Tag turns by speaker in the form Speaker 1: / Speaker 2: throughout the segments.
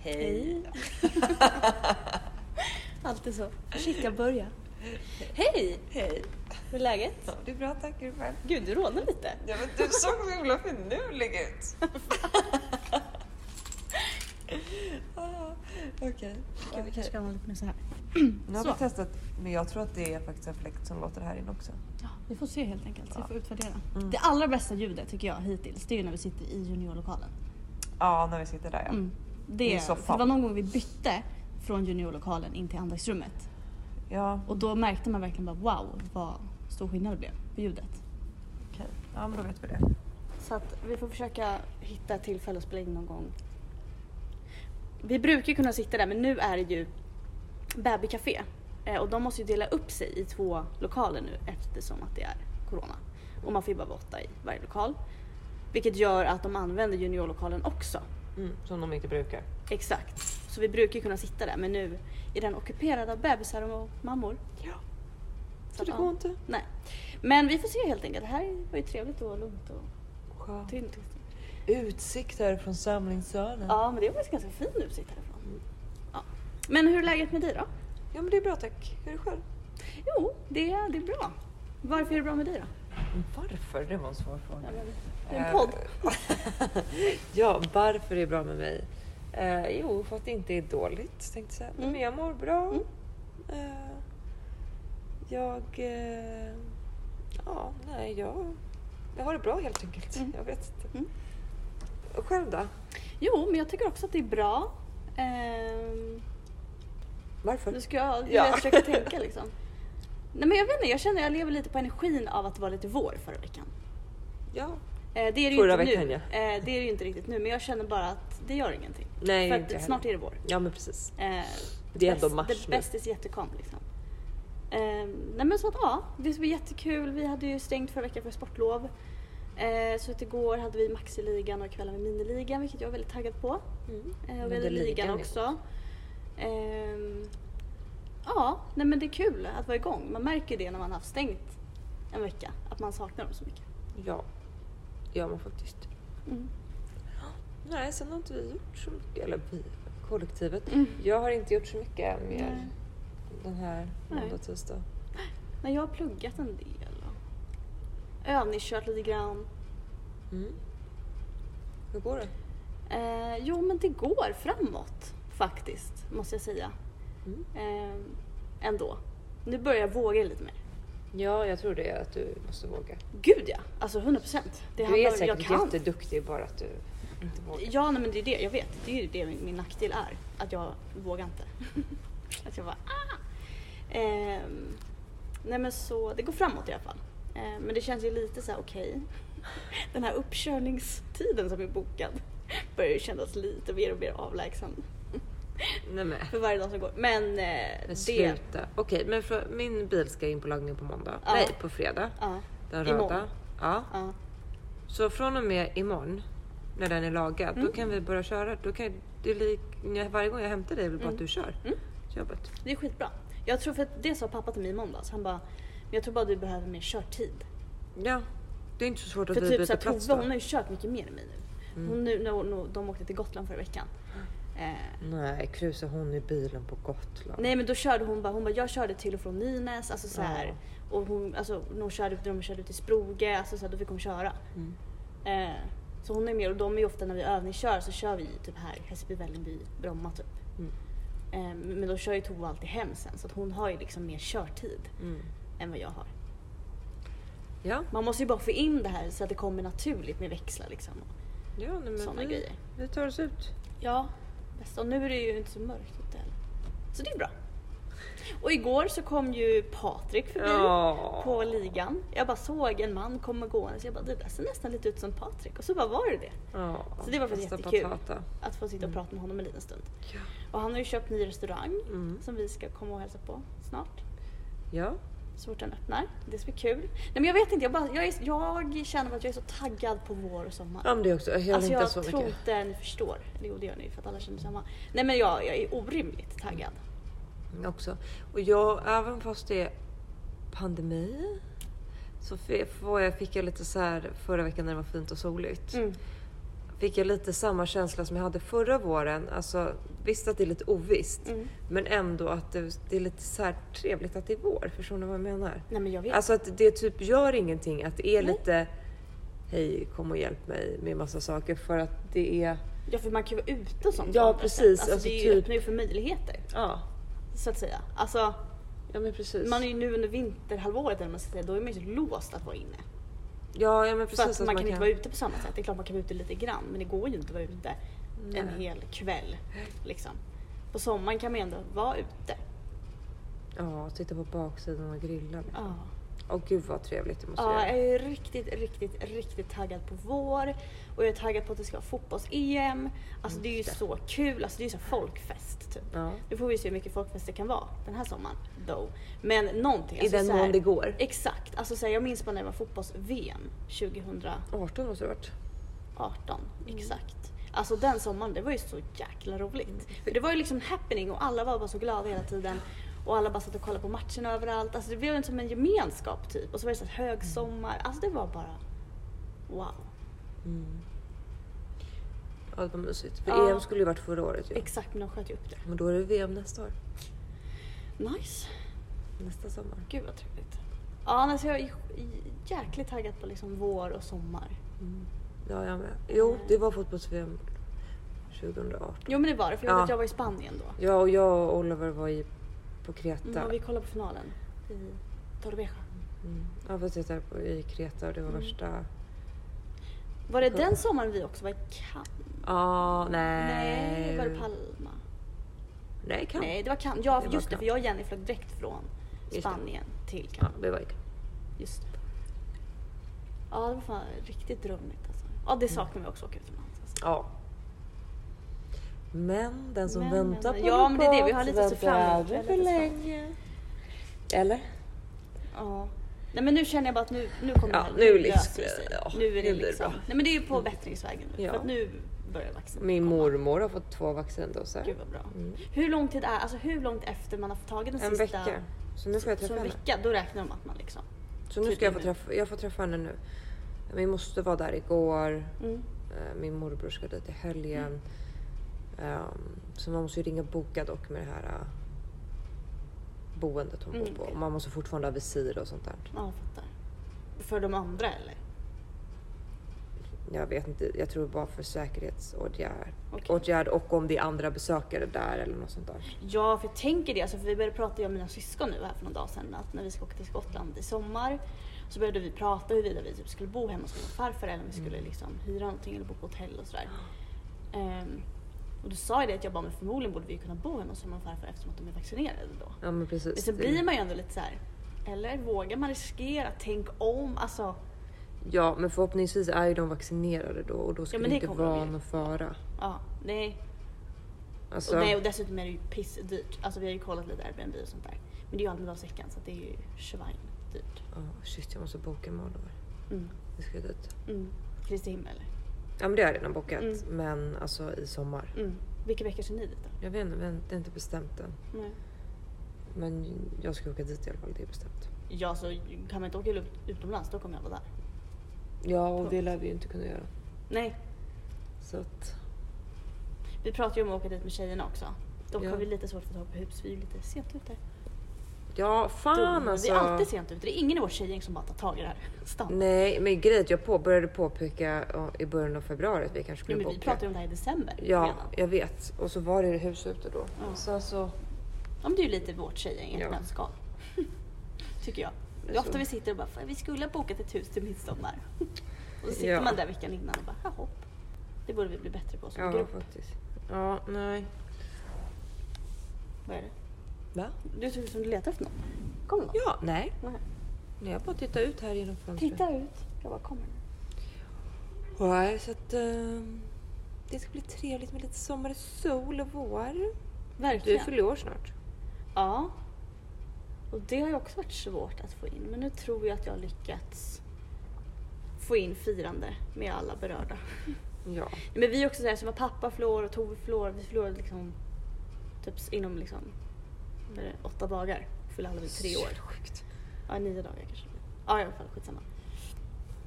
Speaker 1: Hej!
Speaker 2: Alltid så. Shit, jag börjar. Hej!
Speaker 1: Hej!
Speaker 2: Hur är läget?
Speaker 1: Ja, det är bra, tack. Är du själv?
Speaker 2: Gud, du rodnar lite.
Speaker 1: Ja, men du såg så himla finurlig ut. ah, Okej.
Speaker 2: Gud, vi kanske
Speaker 1: Okej.
Speaker 2: ska vara lite mer så här.
Speaker 1: Nu har
Speaker 2: Så.
Speaker 1: vi testat, men jag tror att det är faktiskt en fläkt som låter här inne också.
Speaker 2: Ja, vi får se helt enkelt. Vi
Speaker 1: Ja.
Speaker 2: får utvärdera.
Speaker 1: Mm.
Speaker 2: Det allra bästa ljudet tycker jag hittills, det är ju när vi sitter i juniorlokalen.
Speaker 1: Ja, när vi sitter där ja.
Speaker 2: Mm.
Speaker 1: I
Speaker 2: Det,
Speaker 1: soffan.
Speaker 2: för det var någon gång vi bytte från juniorlokalen in till andaktsrummet.
Speaker 1: Ja,
Speaker 2: Och då märkte man verkligen bara wow, vad stor skillnad det blev på ljudet.
Speaker 1: okej. Ja, men då vet vi det.
Speaker 2: Så att vi får försöka hitta ett tillfälle att spela in någon gång. Vi brukar ju kunna sitta där men nu är det ju babycafé. Eh, Och de måste ju dela upp sig i två lokaler nu eftersom att det är corona. Och man får ju bara vara åtta i varje lokal. Vilket gör att de använder juniorlokalen också.
Speaker 1: Mm, som de inte brukar.
Speaker 2: Exakt. Så vi brukar ju kunna sitta där men nu är den ockuperad av bebisar och mammor.
Speaker 1: Ja.
Speaker 2: Så
Speaker 1: Så
Speaker 2: att,
Speaker 1: det
Speaker 2: ja.
Speaker 1: går inte.
Speaker 2: Nej. Men vi får se helt enkelt. Det här var ju trevligt och lugnt och
Speaker 1: Skönt.
Speaker 2: tynt.
Speaker 1: Utsikt här från samlingssalen.
Speaker 2: Ja, men det var faktiskt ganska fin utsikt
Speaker 1: Mm.
Speaker 2: härifrån. Ja. Men hur är läget med dig då?
Speaker 1: ja, men det är bra tack. Hur är det själv?
Speaker 2: Jo, det, det är bra. Varför är det bra med dig då?
Speaker 1: Varför? Det var en svår fråga.
Speaker 2: Ja, men Det
Speaker 1: Eh,
Speaker 2: är en podd.
Speaker 1: ja, varför det är bra med mig? Eh, jo, för att det inte är dåligt tänkte jag säga. Nej,
Speaker 2: Mm.
Speaker 1: Men jag mår bra.
Speaker 2: Mm.
Speaker 1: Eh, jag... Eh, ja, nej, jag, jag har det bra helt enkelt.
Speaker 2: Mm.
Speaker 1: Jag vet inte.
Speaker 2: Mm.
Speaker 1: Och själv då?
Speaker 2: Jo, men jag tycker också att det är bra. Ehm,
Speaker 1: Varför?
Speaker 2: nu ska jag,
Speaker 1: Ja.
Speaker 2: jag försöka tänka liksom. Nej men jag vet inte, jag känner att jag lever lite på energin av att det var lite vår förra veckan.
Speaker 1: Ja.
Speaker 2: Eh, det är det ju
Speaker 1: Förra
Speaker 2: inte
Speaker 1: veckan,
Speaker 2: nu.
Speaker 1: ja.
Speaker 2: Eh, det är det ju inte riktigt nu, men jag känner bara att det gör ingenting.
Speaker 1: Nej,
Speaker 2: För
Speaker 1: inte jag
Speaker 2: att snart är
Speaker 1: heller.
Speaker 2: det vår.
Speaker 1: Ja, men precis.
Speaker 2: Eh,
Speaker 1: Det är ändå
Speaker 2: bäst-
Speaker 1: mars
Speaker 2: The
Speaker 1: nu.
Speaker 2: best is yet to come liksom. Eh, nej men så att ja, det ska bli jättekul. Vi hade ju stängt förra veckan för sportlov. Eh, så att igår hade vi maxiligan och kvällen med miniligan vilket jag är väldigt taggad på.
Speaker 1: Mm.
Speaker 2: Eh, och vi
Speaker 1: Men
Speaker 2: hade
Speaker 1: det är
Speaker 2: ligan
Speaker 1: ligan, ja.
Speaker 2: också. Eh, ja, nej men det är kul att vara igång. Man märker ju det när man har haft stängt en vecka, att man saknar dem så mycket.
Speaker 1: Ja, gör man faktiskt.
Speaker 2: Mm.
Speaker 1: Nej, sen har inte vi gjort så mycket. Eller vi, kollektivet.
Speaker 2: Mm.
Speaker 1: Jag har inte gjort så mycket mer
Speaker 2: Nej.
Speaker 1: den här
Speaker 2: Nej.
Speaker 1: måndag, tisdag.
Speaker 2: Men jag har pluggat en del och övningskört lite grann.
Speaker 1: Mm. Hur går det?
Speaker 2: Eh, jo, men det går framåt faktiskt, måste jag säga.
Speaker 1: Mm.
Speaker 2: Eh, ändå. Nu börjar jag våga lite mer.
Speaker 1: Ja, jag tror det är att du måste våga.
Speaker 2: Gud ja, alltså 100 procent.
Speaker 1: Du är säkert jätteduktig, bara att du inte vågar.
Speaker 2: Ja, nej, men det är det jag vet. Det är ju det min, min nackdel är. Att jag vågar inte. att jag bara ah! Ehm, nej men så, det går framåt i alla fall. Ehm, men det känns ju lite så här: okej. Den här uppkörningstiden som är bokad börjar ju kännas lite mer och mer avlägsen
Speaker 1: Nej men,
Speaker 2: för varje dag som går. Men eh,
Speaker 1: men
Speaker 2: det...
Speaker 1: sluta. Okej, men för, min bil ska in på lagning på måndag.
Speaker 2: Ja.
Speaker 1: Nej, på fredag.
Speaker 2: Ja,
Speaker 1: Den
Speaker 2: Imorgon.
Speaker 1: röda. Ja.
Speaker 2: ja.
Speaker 1: Så från och med imorgon, när den är lagad, då
Speaker 2: Mm.
Speaker 1: kan vi börja köra. Då kan, det är lik, när- varje gång jag hämtar dig vill bara
Speaker 2: Mm.
Speaker 1: att du kör
Speaker 2: Mm.
Speaker 1: till jobbet.
Speaker 2: Det är skitbra. Jag tror för att det sa pappa till mig i måndags. Han bara, men jag tror bara du behöver mer körtid.
Speaker 1: Ja, det är inte så svårt att
Speaker 2: För
Speaker 1: vi
Speaker 2: typ
Speaker 1: byter
Speaker 2: såhär,
Speaker 1: plats då.
Speaker 2: Tove
Speaker 1: Mm.
Speaker 2: hon har ju kört mycket mer än mig nu. Hon nu när hon, när de åkte till Gotland förra veckan. Eh,
Speaker 1: Nej, krusar hon i bilen på Gotland?
Speaker 2: nej men då körde hon bara, hon bara jag körde till och från Nynäs. Alltså så här,
Speaker 1: Ja.
Speaker 2: Och hon, alltså, när, hon körde, när de körde ut i Sproge, alltså, så här, då fick hon köra.
Speaker 1: Mm.
Speaker 2: Eh, så hon är mer, och de är ju ofta när vi övningskör så kör vi typ här, Hässelby, Vällingby, Bromma typ.
Speaker 1: Mm.
Speaker 2: Eh, men då kör ju Tove alltid hem sen så att hon har ju liksom mer körtid
Speaker 1: Mm.
Speaker 2: än vad jag har.
Speaker 1: Ja,
Speaker 2: Man måste ju bara få in det här så att det kommer naturligt med växlar liksom. och
Speaker 1: ja nej, men
Speaker 2: Såna
Speaker 1: vi,
Speaker 2: grejer.
Speaker 1: vi tar oss ut.
Speaker 2: Ja, bäst. Och nu är det ju inte så mörkt ute heller. Så det är bra. Och igår så kom ju Patrik förbi
Speaker 1: Ja.
Speaker 2: på ligan. Jag bara såg en man komma gående så jag bara det där ser nästan lite ut som Patrik och så bara var det det.
Speaker 1: Ja,
Speaker 2: Så det var faktiskt
Speaker 1: bästa
Speaker 2: jättekul.
Speaker 1: patata.
Speaker 2: Att få sitta och prata med honom en liten stund.
Speaker 1: Ja.
Speaker 2: Och han har ju köpt ny restaurang
Speaker 1: Mm.
Speaker 2: som vi ska komma och hälsa på snart.
Speaker 1: Ja,
Speaker 2: Så fort den öppnar. Det ska bli kul. Nej men jag vet inte, jag, bara, jag, är, jag känner att jag är så taggad på vår och sommar.
Speaker 1: ja men det också. Jag
Speaker 2: alltså
Speaker 1: längtar
Speaker 2: jag
Speaker 1: så
Speaker 2: tror
Speaker 1: mycket.
Speaker 2: inte ni förstår. Eller jo det gör ni för att alla känner samma. Nej men jag, jag är orimligt taggad.
Speaker 1: Också. Och jag, även fast det är pandemi så f- får jag, fick jag lite så här förra veckan när det var fint och soligt.
Speaker 2: Mm.
Speaker 1: Fick jag lite samma känsla som jag hade förra våren. Alltså Visst att det är lite ovisst,
Speaker 2: Mm.
Speaker 1: men ändå att det, det är lite så här trevligt att det är vår. Förstår ni vad jag menar?
Speaker 2: Nej men jag vet.
Speaker 1: Alltså att det typ gör ingenting att det är
Speaker 2: Nej.
Speaker 1: lite Hej, kom och hjälp mig med massa saker för att det är...
Speaker 2: ja för man kan ju vara ute och sånt.
Speaker 1: Ja,
Speaker 2: på andra
Speaker 1: precis.
Speaker 2: sätt. Alltså,
Speaker 1: Alltså,
Speaker 2: det är ju,
Speaker 1: typ-
Speaker 2: öppnar ju för möjligheter.
Speaker 1: Ja,
Speaker 2: Så att säga. Alltså
Speaker 1: ja men precis.
Speaker 2: man är ju nu under vinterhalvåret eller vad man ska säga, då är man ju så låst att vara inne.
Speaker 1: Ja, ja men
Speaker 2: För
Speaker 1: precis.
Speaker 2: att man, kan inte vara ute på samma sätt. Det är klart man kan vara ute lite grann men det går ju inte att vara ute
Speaker 1: Nej.
Speaker 2: en hel kväll. Liksom. På sommaren kan man ju ändå vara ute.
Speaker 1: Ja, titta på baksidan och grilla.
Speaker 2: Ja,
Speaker 1: Åh gud vad trevligt det måste
Speaker 2: ja
Speaker 1: göra.
Speaker 2: jag är riktigt, riktigt, riktigt taggad på vår. Och jag är taggad på att det ska vara fotbolls-EM. Alltså det är ju så kul. Alltså det är ju så här folkfest typ.
Speaker 1: Ja.
Speaker 2: Nu får vi se hur mycket folkfest det kan vara den här sommaren. Though. Men någonting.
Speaker 1: I
Speaker 2: alltså,
Speaker 1: den
Speaker 2: så här-
Speaker 1: mån det går. Mm.
Speaker 2: Exakt. Alltså, så här, jag minns bara när det var fotbolls-VM 2018.
Speaker 1: 18 måste det ha varit.
Speaker 2: Exakt. Alltså den sommaren, det var ju så jäkla roligt. För det var ju liksom en happening och alla var bara så glada hela tiden. Och alla bara satt och kollade på matchen överallt. Alltså det blev ju som en gemenskap typ. Och så var det så här högsommar. Alltså det var bara wow.
Speaker 1: Ja, det var mysigt. För
Speaker 2: Mm. Ja.
Speaker 1: EM skulle ju varit förra året ju.
Speaker 2: Exakt, men de sköt ju upp det.
Speaker 1: Men då är det VM nästa år.
Speaker 2: Nice.
Speaker 1: Nästa sommar.
Speaker 2: Gud vad trevligt. Ja, alltså jag är jäkligt taggad på liksom vår och sommar. Mm.
Speaker 1: Ja, jag med. Jo, det var fotbolls-VM 2018.
Speaker 2: Jo men det var det, för jag vet
Speaker 1: Ja.
Speaker 2: att jag var i Spanien då.
Speaker 1: Ja, och jag och Oliver var i, på Kreta.
Speaker 2: Mm, och vi kollade på finalen i Torrevieja.
Speaker 1: Mm. Ja, vi tittade på, i Kreta och det var
Speaker 2: Mm.
Speaker 1: värsta...
Speaker 2: Var det den sommaren vi också var i Cannes?
Speaker 1: Ja, Ah, nej.
Speaker 2: Nej, var det Palma?
Speaker 1: Nej, Eh, kan.
Speaker 2: Nej, det var Cannes. Ja,
Speaker 1: Det var
Speaker 2: just det,
Speaker 1: Cannes.
Speaker 2: för jag och Jenny flög direkt från
Speaker 1: Just det.
Speaker 2: Spanien till
Speaker 1: Ja,
Speaker 2: Cannes.
Speaker 1: vi var i Kan.
Speaker 2: Just det. Ja, det var fan riktigt drömmigt alltså. Ja, det saknar vi också att åka utomlands. Alltså.
Speaker 1: Ja. Men den som
Speaker 2: Men, men,
Speaker 1: väntar
Speaker 2: men.
Speaker 1: på
Speaker 2: Ja, men det är det. Vi
Speaker 1: något
Speaker 2: har lite att se fram emot.
Speaker 1: väntar aldrig för
Speaker 2: Eller så.
Speaker 1: länge. Eller?
Speaker 2: Ja. Nej men nu känner jag bara att nu, nu kommer
Speaker 1: Ja,
Speaker 2: det här.
Speaker 1: nu
Speaker 2: löser
Speaker 1: liksom-
Speaker 2: det sig.
Speaker 1: ja,
Speaker 2: Nu är
Speaker 1: nu
Speaker 2: det
Speaker 1: blir det
Speaker 2: liksom.
Speaker 1: bra.
Speaker 2: Nej men det är ju på bättringsvägen nu.
Speaker 1: Ja.
Speaker 2: För att nu börjar vaccinet
Speaker 1: Min
Speaker 2: komma.
Speaker 1: mormor har fått två vaccindoser.
Speaker 2: Gud vad bra.
Speaker 1: Mm.
Speaker 2: Hur lång tid är, alltså hur långt efter man har fått tagit den
Speaker 1: En
Speaker 2: sista?
Speaker 1: vecka. Så nu får jag
Speaker 2: Så
Speaker 1: träffa
Speaker 2: en
Speaker 1: henne.
Speaker 2: vecka, då räknar de att man liksom.
Speaker 1: Så nu ska jag få
Speaker 2: Tydligen.
Speaker 1: träffa, jag får träffa henne nu. Vi måste vara där igår.
Speaker 2: Mm.
Speaker 1: Eh, Min morbror ska dit i helgen. Ehm, så man måste ju ringa och boka dock med det här eh, boendet hon
Speaker 2: Mm,
Speaker 1: bor på.
Speaker 2: okej.
Speaker 1: Man måste fortfarande ha visir och sånt där.
Speaker 2: Ja, jag fattar. För de andra eller?
Speaker 1: Jag vet inte, jag tror bara för säkerhetsåtgärd
Speaker 2: Okej.
Speaker 1: åtgärd och om det är andra besökare där eller något sånt där.
Speaker 2: Ja, för jag tänker det. Alltså, för vi började prata, jag och mina syskon nu här för någon dag sedan, att när vi ska åka till Skottland i sommar så började vi prata huruvida vi typ skulle bo hemma hos min farfar eller om vi skulle liksom hyra någonting eller bo på hotell och sådär. Ehm, och då sa jag det att jag bara, men förmodligen borde vi ju kunna bo hemma hos min farfar eftersom att de är vaccinerade då.
Speaker 1: Ja men precis.
Speaker 2: Men sen blir man ju ändå lite så här. eller vågar man riskera? Tänk om? Alltså,
Speaker 1: Ja men förhoppningsvis är ju de vaccinerade då och då ska
Speaker 2: men
Speaker 1: det
Speaker 2: det
Speaker 1: inte
Speaker 2: kommer de
Speaker 1: vara
Speaker 2: ju.
Speaker 1: någon fara.
Speaker 2: ja, nej.
Speaker 1: Alltså,
Speaker 2: Och, nej. och dessutom är det ju pissdyrt. Alltså vi har ju kollat lite Airbnb och sånt där. Men det är ju Almedalsveckan så att det är ju svindyrt.
Speaker 1: ja, shit jag måste boka med Oliver.
Speaker 2: Mm.
Speaker 1: Vi ska dit.
Speaker 2: Mm. Kristi himmel.
Speaker 1: Ja men det har jag redan bokat
Speaker 2: Mm.
Speaker 1: men alltså i sommar.
Speaker 2: Mm. Vilka veckor ska ni dit då?
Speaker 1: Jag vet inte, men det är inte bestämt än.
Speaker 2: Nej.
Speaker 1: Men jag ska åka dit i alla fall, det är bestämt.
Speaker 2: Ja, så kan man inte åka ut- utomlands då kommer jag vara där.
Speaker 1: Ja, och det lär vi ju inte kunna göra.
Speaker 2: Nej,
Speaker 1: Så att...
Speaker 2: vi pratar ju om att åka dit med tjejerna också. Dock
Speaker 1: Ja.
Speaker 2: har vi lite svårt att få tag på hus, vi är ju lite sent ute.
Speaker 1: Ja, fan
Speaker 2: Dumma.
Speaker 1: alltså.
Speaker 2: Vi är alltid sent ute, det är ingen i vår tjejgäng som bara tar tag i det här. Stanna.
Speaker 1: Nej, men grejen är att jag på, började påpeka ja, i början av februari att vi kanske
Speaker 2: Ja,
Speaker 1: skulle
Speaker 2: men vi
Speaker 1: boka.
Speaker 2: pratade ju om det här i december
Speaker 1: Ja,
Speaker 2: redan.
Speaker 1: jag vet. Och så var det hus ute då.
Speaker 2: Ja. alltså,
Speaker 1: Sen så...
Speaker 2: Ja, men det är ju lite vårt tjejgäng i ett
Speaker 1: Ja.
Speaker 2: nötskal. Tycker jag. Det är
Speaker 1: Så.
Speaker 2: ofta vi sitter och bara, "Fan, vi skulle ha bokat ett hus till midsommar. och så sitter
Speaker 1: Ja.
Speaker 2: man där veckan innan och bara, jaha. Det borde vi bli bättre på som
Speaker 1: Ja,
Speaker 2: grupp.
Speaker 1: faktiskt. Ja, nej.
Speaker 2: Vad är det?
Speaker 1: Va?
Speaker 2: Du ser ut som du letar efter någon. Kommer någon?
Speaker 1: Ja, nej.
Speaker 2: Nej.
Speaker 1: Nej, jag bara tittar ut här genom fönstret.
Speaker 2: Titta ut. Jag bara, kommer den?
Speaker 1: Nej, så att... ehm, det ska bli trevligt med lite sommar, sol och vår. Du
Speaker 2: Verkligen.
Speaker 1: fyller år snart.
Speaker 2: Ja. Och det har ju också varit svårt att få in. Men nu tror jag att jag har lyckats få in firande med alla berörda.
Speaker 1: Ja.
Speaker 2: Nej, Men vi är också sådär som var pappa förlorade och Tove förlorade. Vi förlorade liksom typ s- inom liksom vad är det, åtta dagar. Fyllde alla vi tre år.
Speaker 1: Sjukt.
Speaker 2: Ja, nio dagar kanske. Ja, i alla fall skitsamma.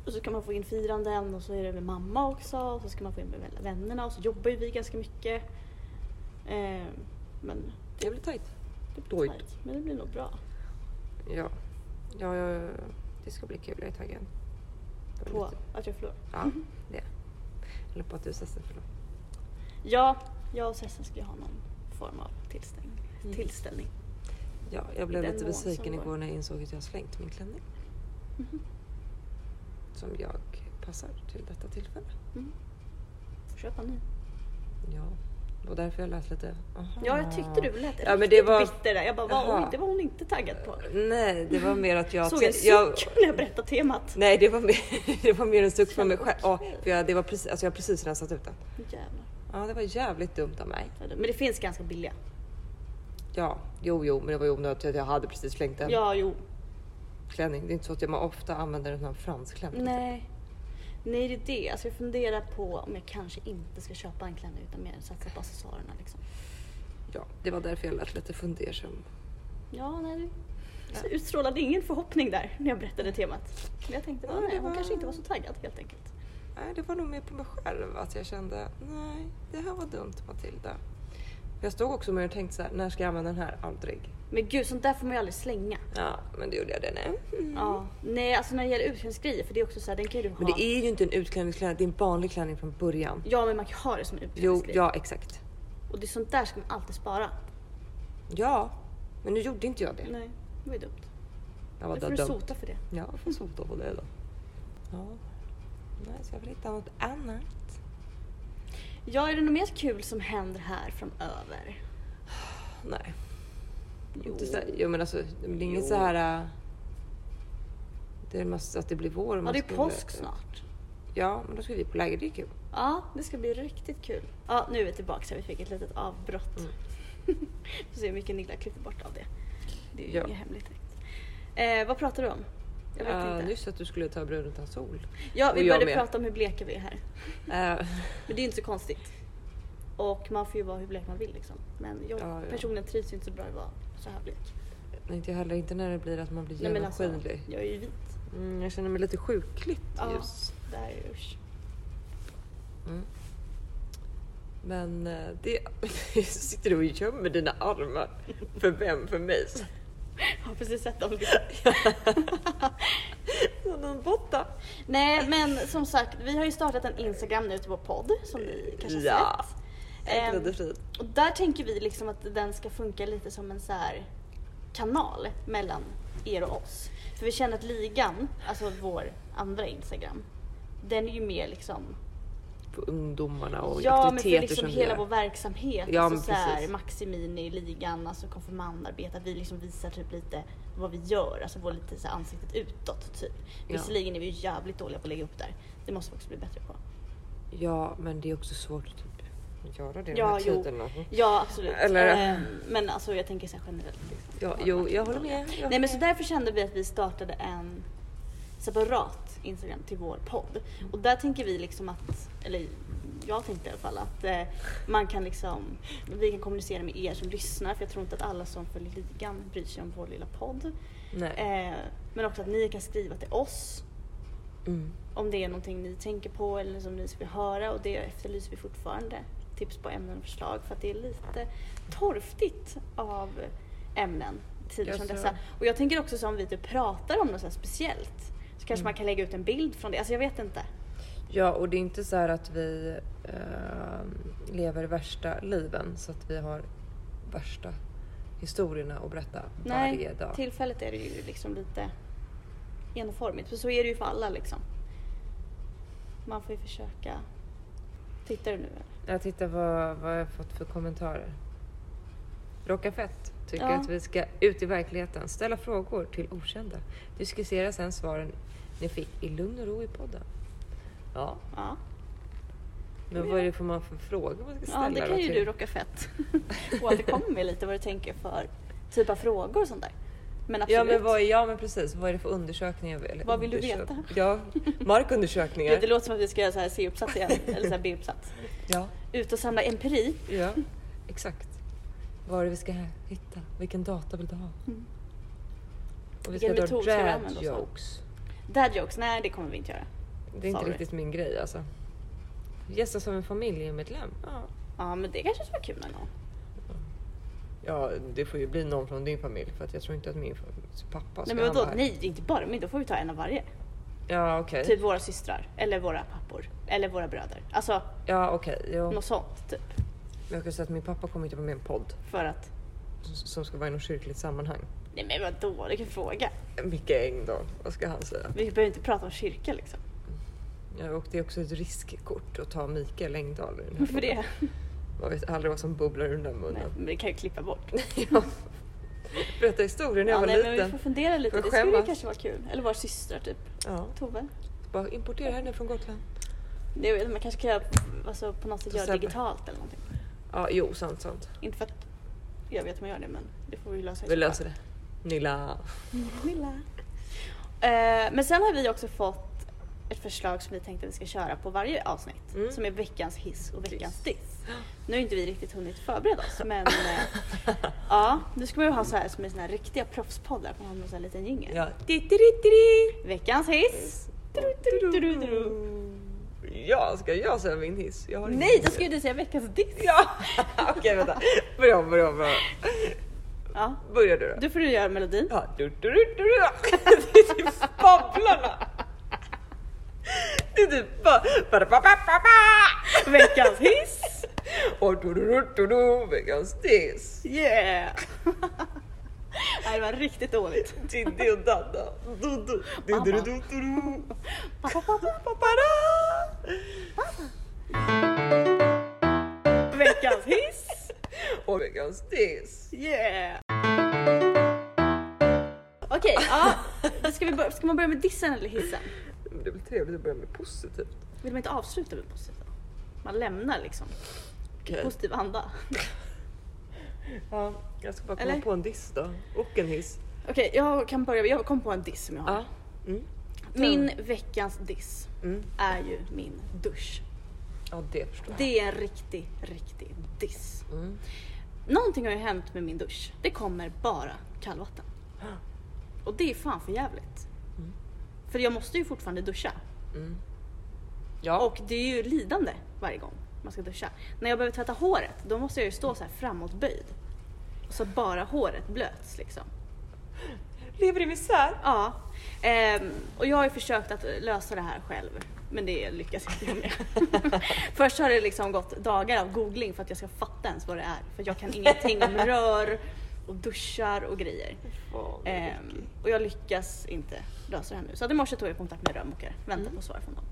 Speaker 2: Och så kan man få in firanden och så är det med mamma också och så ska man få in med vännerna och så jobbar ju vi ganska mycket. Eh, Men
Speaker 1: Det blir tajt.
Speaker 2: det blir
Speaker 1: Dojt.
Speaker 2: tajt. Men det blir nog bra.
Speaker 1: Ja. Ja, ja, ja. det ska bli kul. Jag är taggad. Det var
Speaker 2: På
Speaker 1: lite-
Speaker 2: att jag förlorar. Mhm.
Speaker 1: Ja, det. Eller på att du är Sesse, förlåt.
Speaker 2: Ja, jag och Sessen ska ju ha någon form av tillställning.
Speaker 1: Mm.
Speaker 2: tillställning.
Speaker 1: Ja, jag blev
Speaker 2: Den
Speaker 1: lite
Speaker 2: mån som
Speaker 1: besviken
Speaker 2: går.
Speaker 1: igår när jag insåg att jag har slängt min klänning.
Speaker 2: Mhm.
Speaker 1: Som jag passar till detta tillfälle.
Speaker 2: Får köpa en ny.
Speaker 1: Ja, det var därför jag lät lite... Aha.
Speaker 2: Ja, jag tyckte du lät
Speaker 1: Ja, men
Speaker 2: riktigt
Speaker 1: det var-
Speaker 2: bitter där. Jag bara, vad,
Speaker 1: Jaha.
Speaker 2: oj, det var hon inte taggad på.
Speaker 1: Nej, det var mer att jag...
Speaker 2: Såg en
Speaker 1: te- jag-
Speaker 2: suck när jag berättade temat.
Speaker 1: Nej, det var mer, det var mer en suck från mig
Speaker 2: Okej.
Speaker 1: själv. Ja, för jag, det var precis, alltså jag har precis rensat ut den.
Speaker 2: Jävlar.
Speaker 1: Ja, det var jävligt dumt av mig.
Speaker 2: Men det finns ganska billiga.
Speaker 1: Ja, jo, jo, men det var ju onödigt att jag hade precis slängt en
Speaker 2: Ja, jo.
Speaker 1: klänning. Det är inte så att jag man ofta använder en sån här fransklänning.
Speaker 2: Nej. Nej, det är det. Alltså jag funderar på om jag kanske inte ska köpa en klänning utan mer satsa på accessoarerna liksom.
Speaker 1: Ja, det var därför jag lät lite fundersam.
Speaker 2: Ja, nej. Du så utstrålade ingen förhoppning där när jag berättade temat. Men jag tänkte,
Speaker 1: Ja,
Speaker 2: bara,
Speaker 1: det
Speaker 2: nej, hon
Speaker 1: var-
Speaker 2: kanske inte var så taggad helt enkelt.
Speaker 1: Nej, det var nog mer på mig själv att jag kände nej, det här var dumt Matilda. Jag stod också med och tänkte så här, när ska jag använda den här? Aldrig.
Speaker 2: Men gud, sånt där får man ju aldrig slänga.
Speaker 1: Ja, men det gjorde jag det nu. Mm.
Speaker 2: Ja. Nej, alltså när det gäller utklädningsgrejer, för det är också så här, den kan ju du ha.
Speaker 1: Men det är ju inte en utklädningsklänning, det är en vanlig klänning från början.
Speaker 2: Ja, men man kan ha det som en
Speaker 1: Jo,
Speaker 2: utklädningsgrej.
Speaker 1: ja exakt.
Speaker 2: Och det är sånt där ska man alltid spara.
Speaker 1: Ja, men nu gjorde inte jag det.
Speaker 2: Nej, det var ju dumt.
Speaker 1: Jag
Speaker 2: Nu
Speaker 1: var
Speaker 2: får du
Speaker 1: död.
Speaker 2: sota för det.
Speaker 1: Ja, jag får sota på det då. Ja. Nej, så jag vill hitta något annat.
Speaker 2: Ja, är det något mer kul som händer här framöver?
Speaker 1: Nej.
Speaker 2: Jo.
Speaker 1: Inte så här, jo men alltså, det blir inget så här... äh, Det är mest att det blir vår. och
Speaker 2: Ja,
Speaker 1: man
Speaker 2: det är
Speaker 1: ska-
Speaker 2: påsk snart.
Speaker 1: Ja, men då ska vi på läger. Det är kul.
Speaker 2: Ja, det ska bli riktigt kul. Ja, nu är vi tillbaka så vi fick ett litet avbrott.
Speaker 1: Mm.
Speaker 2: Får se hur mycket Nilla klipper bort av det. Det är ju
Speaker 1: Ja.
Speaker 2: inget hemligt direkt. Eh, vad pratar du om? Jag vet
Speaker 1: Äh,
Speaker 2: inte.
Speaker 1: Nyss att du skulle ta bröd utan sol.
Speaker 2: Ja, vi
Speaker 1: och jag
Speaker 2: började
Speaker 1: med.
Speaker 2: prata om hur bleka vi är här. Mm.
Speaker 1: Äh,
Speaker 2: Men det är ju inte så konstigt. Och man får ju vara hur blek man vill liksom. Men jag
Speaker 1: Ja, ja.
Speaker 2: personligen trivs ju inte så bra i att vara så här blek.
Speaker 1: nej, inte jag heller. Inte när det blir att man blir
Speaker 2: Nej, men alltså,
Speaker 1: genomskinlig.
Speaker 2: jag är ju vit.
Speaker 1: Mm, jag känner mig lite sjukligt
Speaker 2: Ja.
Speaker 1: ljus.
Speaker 2: Det här är ju usch.
Speaker 1: Mm. Men äh, det... sitter du och gömmer dina armar. För vem? För mig?
Speaker 2: Jag har precis sett dem.
Speaker 1: Som en botta.
Speaker 2: Nej men som sagt, vi har ju startat en Instagram nu till vår podd som ni kanske har
Speaker 1: Ja.
Speaker 2: sett. Ehm,
Speaker 1: Ägglade frid.
Speaker 2: Och där tänker vi liksom att den ska funka lite som en så här kanal mellan er och oss. För vi känner att ligan, alltså vår andra Instagram, den är ju mer liksom...
Speaker 1: på ungdomarna och
Speaker 2: Ja men för
Speaker 1: aktiviteter
Speaker 2: liksom
Speaker 1: som
Speaker 2: hela
Speaker 1: vi
Speaker 2: vår
Speaker 1: gör.
Speaker 2: verksamhet.
Speaker 1: Ja, men
Speaker 2: alltså så här,
Speaker 1: precis.
Speaker 2: Maximini, ligan, alltså konfirmandarbete. Att vi liksom visar typ lite vad vi gör, alltså vår lite så här ansiktet utåt typ.
Speaker 1: Ja.
Speaker 2: Visserligen är vi ju jävligt dåliga på att lägga upp där. Det måste vi också bli bättre på.
Speaker 1: Ja, men det är också svårt att typ göra det i
Speaker 2: Ja,
Speaker 1: de här
Speaker 2: jo.
Speaker 1: tiderna.
Speaker 2: Ja absolut.
Speaker 1: Eller-
Speaker 2: Eh, Men alltså jag tänker så här generellt. Liksom,
Speaker 1: Ja,
Speaker 2: Har
Speaker 1: jo,
Speaker 2: varit
Speaker 1: jag håller
Speaker 2: dåliga.
Speaker 1: med. Jag
Speaker 2: Nej men så
Speaker 1: håller
Speaker 2: därför kände vi att vi startade en separat Instagram till vår podd. Och där tänker vi liksom att, eller jag tänkte i alla fall att eh, man kan liksom, vi kan kommunicera med er som lyssnar för jag tror inte att alla som följer ligan bryr sig om vår lilla podd.
Speaker 1: med. Nej.
Speaker 2: Eh, men också att ni kan skriva till oss
Speaker 1: Mm.
Speaker 2: om det är någonting ni tänker på eller som ni vill höra och det efterlyser vi fortfarande tips på ämnen och förslag för att det är lite torftigt av ämnen i tider
Speaker 1: Ja,
Speaker 2: som
Speaker 1: så.
Speaker 2: dessa. Och jag tänker också så om vi typ pratar om något så här speciellt så kanske
Speaker 1: Mm.
Speaker 2: man kan lägga ut en bild från det. Alltså jag vet inte.
Speaker 1: Ja, och det är inte så här att vi ehm, lever värsta liven så att vi har värsta historierna att berätta varje dag.
Speaker 2: tillfället är det ju liksom lite enformigt. För så är det ju för alla liksom. Man får ju försöka. Tittar du nu eller?
Speaker 1: Jag tittar vad, vad jag har fått för kommentarer. Rocka fett tycker
Speaker 2: Ja.
Speaker 1: att vi ska ut i verkligheten, ställa frågor till okända, diskutera sen svaren ni fick i lugn och ro i podden. Ja,
Speaker 2: Ja.
Speaker 1: Men vad är det för man för frågor man ska ställa
Speaker 2: Ja, det
Speaker 1: då
Speaker 2: kan ju
Speaker 1: till-
Speaker 2: du rocka fett. Återkommer med lite vad du tänker för typ av frågor och sånt där. Men absolut.
Speaker 1: Ja men, vad är, ja men precis, vad är det för undersökningar? Eller
Speaker 2: Vad vill du
Speaker 1: undersök-
Speaker 2: veta?
Speaker 1: Ja,
Speaker 2: Gud, det
Speaker 1: markundersökningar.
Speaker 2: låter som att vi ska göra så här C-uppsats igen, eller så här B-uppsats.
Speaker 1: Ja,
Speaker 2: Ut och samla empiri.
Speaker 1: ja, exakt. Vad är det vi ska hitta? Vilken data vill du ha?
Speaker 2: Mm.
Speaker 1: Och vi
Speaker 2: Vilken
Speaker 1: ska dra
Speaker 2: metod ska vi
Speaker 1: dad
Speaker 2: använda oss av?
Speaker 1: jokes.
Speaker 2: Dad jokes, nej det kommer vi inte göra.
Speaker 1: Det är inte
Speaker 2: Sorry.
Speaker 1: riktigt min grej alltså. Gästa som en familjemedlem. Ja.
Speaker 2: Ja men det kanske skulle vara kul någon gång.
Speaker 1: Ja, det får ju bli någon från din familj för att jag tror inte att min fam- pappa ska
Speaker 2: Nej men vadå,
Speaker 1: hamna här.
Speaker 2: nej inte bara men då får vi ta en av varje.
Speaker 1: Ja okej.
Speaker 2: Typ våra systrar, eller våra pappor, eller våra bröder. Alltså
Speaker 1: Ja okej. Jo. Men
Speaker 2: något sånt typ.
Speaker 1: jag kan säga att min pappa kommer inte vara med i en podd
Speaker 2: För att,
Speaker 1: s- som ska vara i något kyrkligt sammanhang.
Speaker 2: nej men vadå, du kan fråga.
Speaker 1: Micke Eng då, vad ska han säga?
Speaker 2: Vi behöver inte prata om kyrka liksom.
Speaker 1: Ja, och det är också ett riskkort att ta Mikael Engdahl i den här
Speaker 2: Varför det?
Speaker 1: frågan. Man vet aldrig vad som bubblar ur den där
Speaker 2: Nej,
Speaker 1: munnen.
Speaker 2: men det kan jag klippa bort.
Speaker 1: Ja. Berätta historien när jag
Speaker 2: Ja,
Speaker 1: var
Speaker 2: nej, men vi
Speaker 1: liten.
Speaker 2: får fundera lite,
Speaker 1: Får
Speaker 2: det skulle
Speaker 1: skämmas.
Speaker 2: kanske vara kul. Eller våra systrar typ.
Speaker 1: Ja,
Speaker 2: Tove?
Speaker 1: bara importera henne från Gotland.
Speaker 2: Det, jag vet, man kanske kan göra, alltså, på något sätt
Speaker 1: Och
Speaker 2: göra
Speaker 1: sen-
Speaker 2: digitalt eller någonting.
Speaker 1: Ja, jo sant sant.
Speaker 2: Inte för att jag vet hur man gör det men det får vi lösa.
Speaker 1: Vi löser det. Nilla.
Speaker 2: Milla. Eh, men sen har vi också fått ett förslag som vi tänkte att vi ska köra på varje avsnitt.
Speaker 1: Mm.
Speaker 2: Som är veckans hiss och veckans
Speaker 1: Diss.
Speaker 2: diss. Nu har inte vi riktigt hunnit förbereda oss men eh, ja, nu ska man ju ha så här som är såna här riktiga proffspoddar. Man har någon sån här liten jingel.
Speaker 1: Ja.
Speaker 2: Veckans hiss! Du-du-du-du-du-du.
Speaker 1: Ja, ska jag säga min hiss? Jag har ingen
Speaker 2: Nej, då
Speaker 1: hiss.
Speaker 2: ska ju du säga veckans diss!
Speaker 1: Ja, okej vänta. Bra, bra, bra.
Speaker 2: Ja.
Speaker 1: Börja du då.
Speaker 2: Du får du göra melodin.
Speaker 1: Ja, du, du, du, du, du. Det är typ Babblarna. Det är typ bara... bara, bara, bara, bara.
Speaker 2: Veckans hiss!
Speaker 1: Och du, du, du, du, du, veckans diss.
Speaker 2: Yeah! Nej, det var riktigt dåligt.
Speaker 1: Titti och Danna. Du, du, du, du, du, du, du, du.
Speaker 2: Veckans hiss!
Speaker 1: Och veckans diss.
Speaker 2: Yeah! Okej, ja. Då Ska, vi bör- ska man börja med dissen eller hissen?
Speaker 1: Det är väl trevligt att börja med positivt.
Speaker 2: Vill man inte avsluta med positivt? då? Man lämnar liksom
Speaker 1: Okej.
Speaker 2: positiv anda.
Speaker 1: Ja, jag ska bara komma
Speaker 2: Eller?
Speaker 1: på en diss då. Och en hiss.
Speaker 2: Okej, jag kan börja. Jag kom på en diss som jag har.
Speaker 1: Ja. Mm.
Speaker 2: Min veckans diss
Speaker 1: Mm.
Speaker 2: är ju min dusch.
Speaker 1: Ja, det förstår jag.
Speaker 2: Det är en riktig, riktig diss.
Speaker 1: Mm.
Speaker 2: Någonting har ju hänt med min dusch. Det kommer bara kallvatten. Och det är fan för jävligt. För jag måste ju fortfarande duscha.
Speaker 1: Mm. Ja.
Speaker 2: Och det är ju lidande varje gång man ska duscha. När jag behöver tvätta håret, då måste jag ju stå så här framåtböjd. Så att bara håret blöts liksom.
Speaker 1: lever i misär.
Speaker 2: Ja. Ehm, och jag har ju försökt att lösa det här själv. Men det lyckas inte jag med. Först har det liksom gått dagar av googling för att jag ska fatta ens vad det är. För jag kan ingenting om rör och duschar och grejer.
Speaker 1: Fan, vad äckligt.
Speaker 2: Ehm, och jag lyckas inte lösa det här nu. Så att i morse tog jag kontakt med rörmokare. Väntar
Speaker 1: Mm.
Speaker 2: på svar från dem.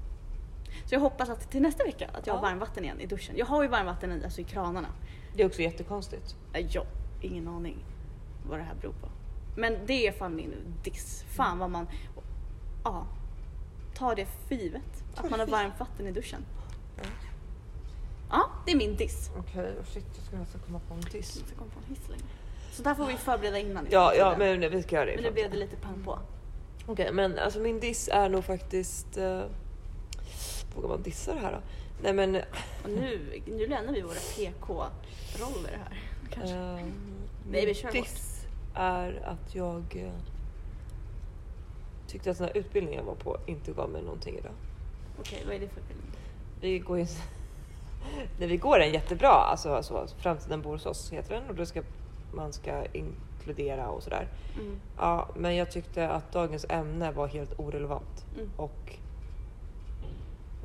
Speaker 2: Så jag hoppas att till nästa vecka att jag har
Speaker 1: Ja.
Speaker 2: varmvatten igen i duschen. Jag har ju varmvatten i, alltså i kranarna.
Speaker 1: det är också jättekonstigt.
Speaker 2: Eh, Ja, ingen aning vad det här beror på. Men det är fan min diss.
Speaker 1: Mm.
Speaker 2: Fan vad man... Ja. Ta det för givet. Att man har varmt vatten i duschen. Ja, det är min diss.
Speaker 1: Okej, och shit jag skulle alltså komma på en diss.
Speaker 2: Jag ska komma på en hiss längre. Så där får vi förbereda innan. i
Speaker 1: Ja, ja
Speaker 2: framtiden.
Speaker 1: men nej, vi ska göra det. i
Speaker 2: Men nu blev
Speaker 1: framtiden.
Speaker 2: det lite pang på.
Speaker 1: Okej, men alltså min diss är nog faktiskt... Uh, vågar man dissa det här då? Nej men...
Speaker 2: Och nu, nu lämnar vi våra PK-roller här. Kanske.
Speaker 1: eh,
Speaker 2: Nej, vi
Speaker 1: min
Speaker 2: kör vårt.
Speaker 1: diss är att jag eh, tyckte att den här utbildningen jag var på inte gav mig någonting idag.
Speaker 2: Okej, vad är det för bild?
Speaker 1: Vi går ju... Nej, vi går den jättebra, alltså, alltså Framtiden bor hos oss heter den och då ska man ska inkludera och sådär.
Speaker 2: Mm.
Speaker 1: Ja, men jag tyckte att dagens ämne var helt orelevant.
Speaker 2: Mm.
Speaker 1: Och...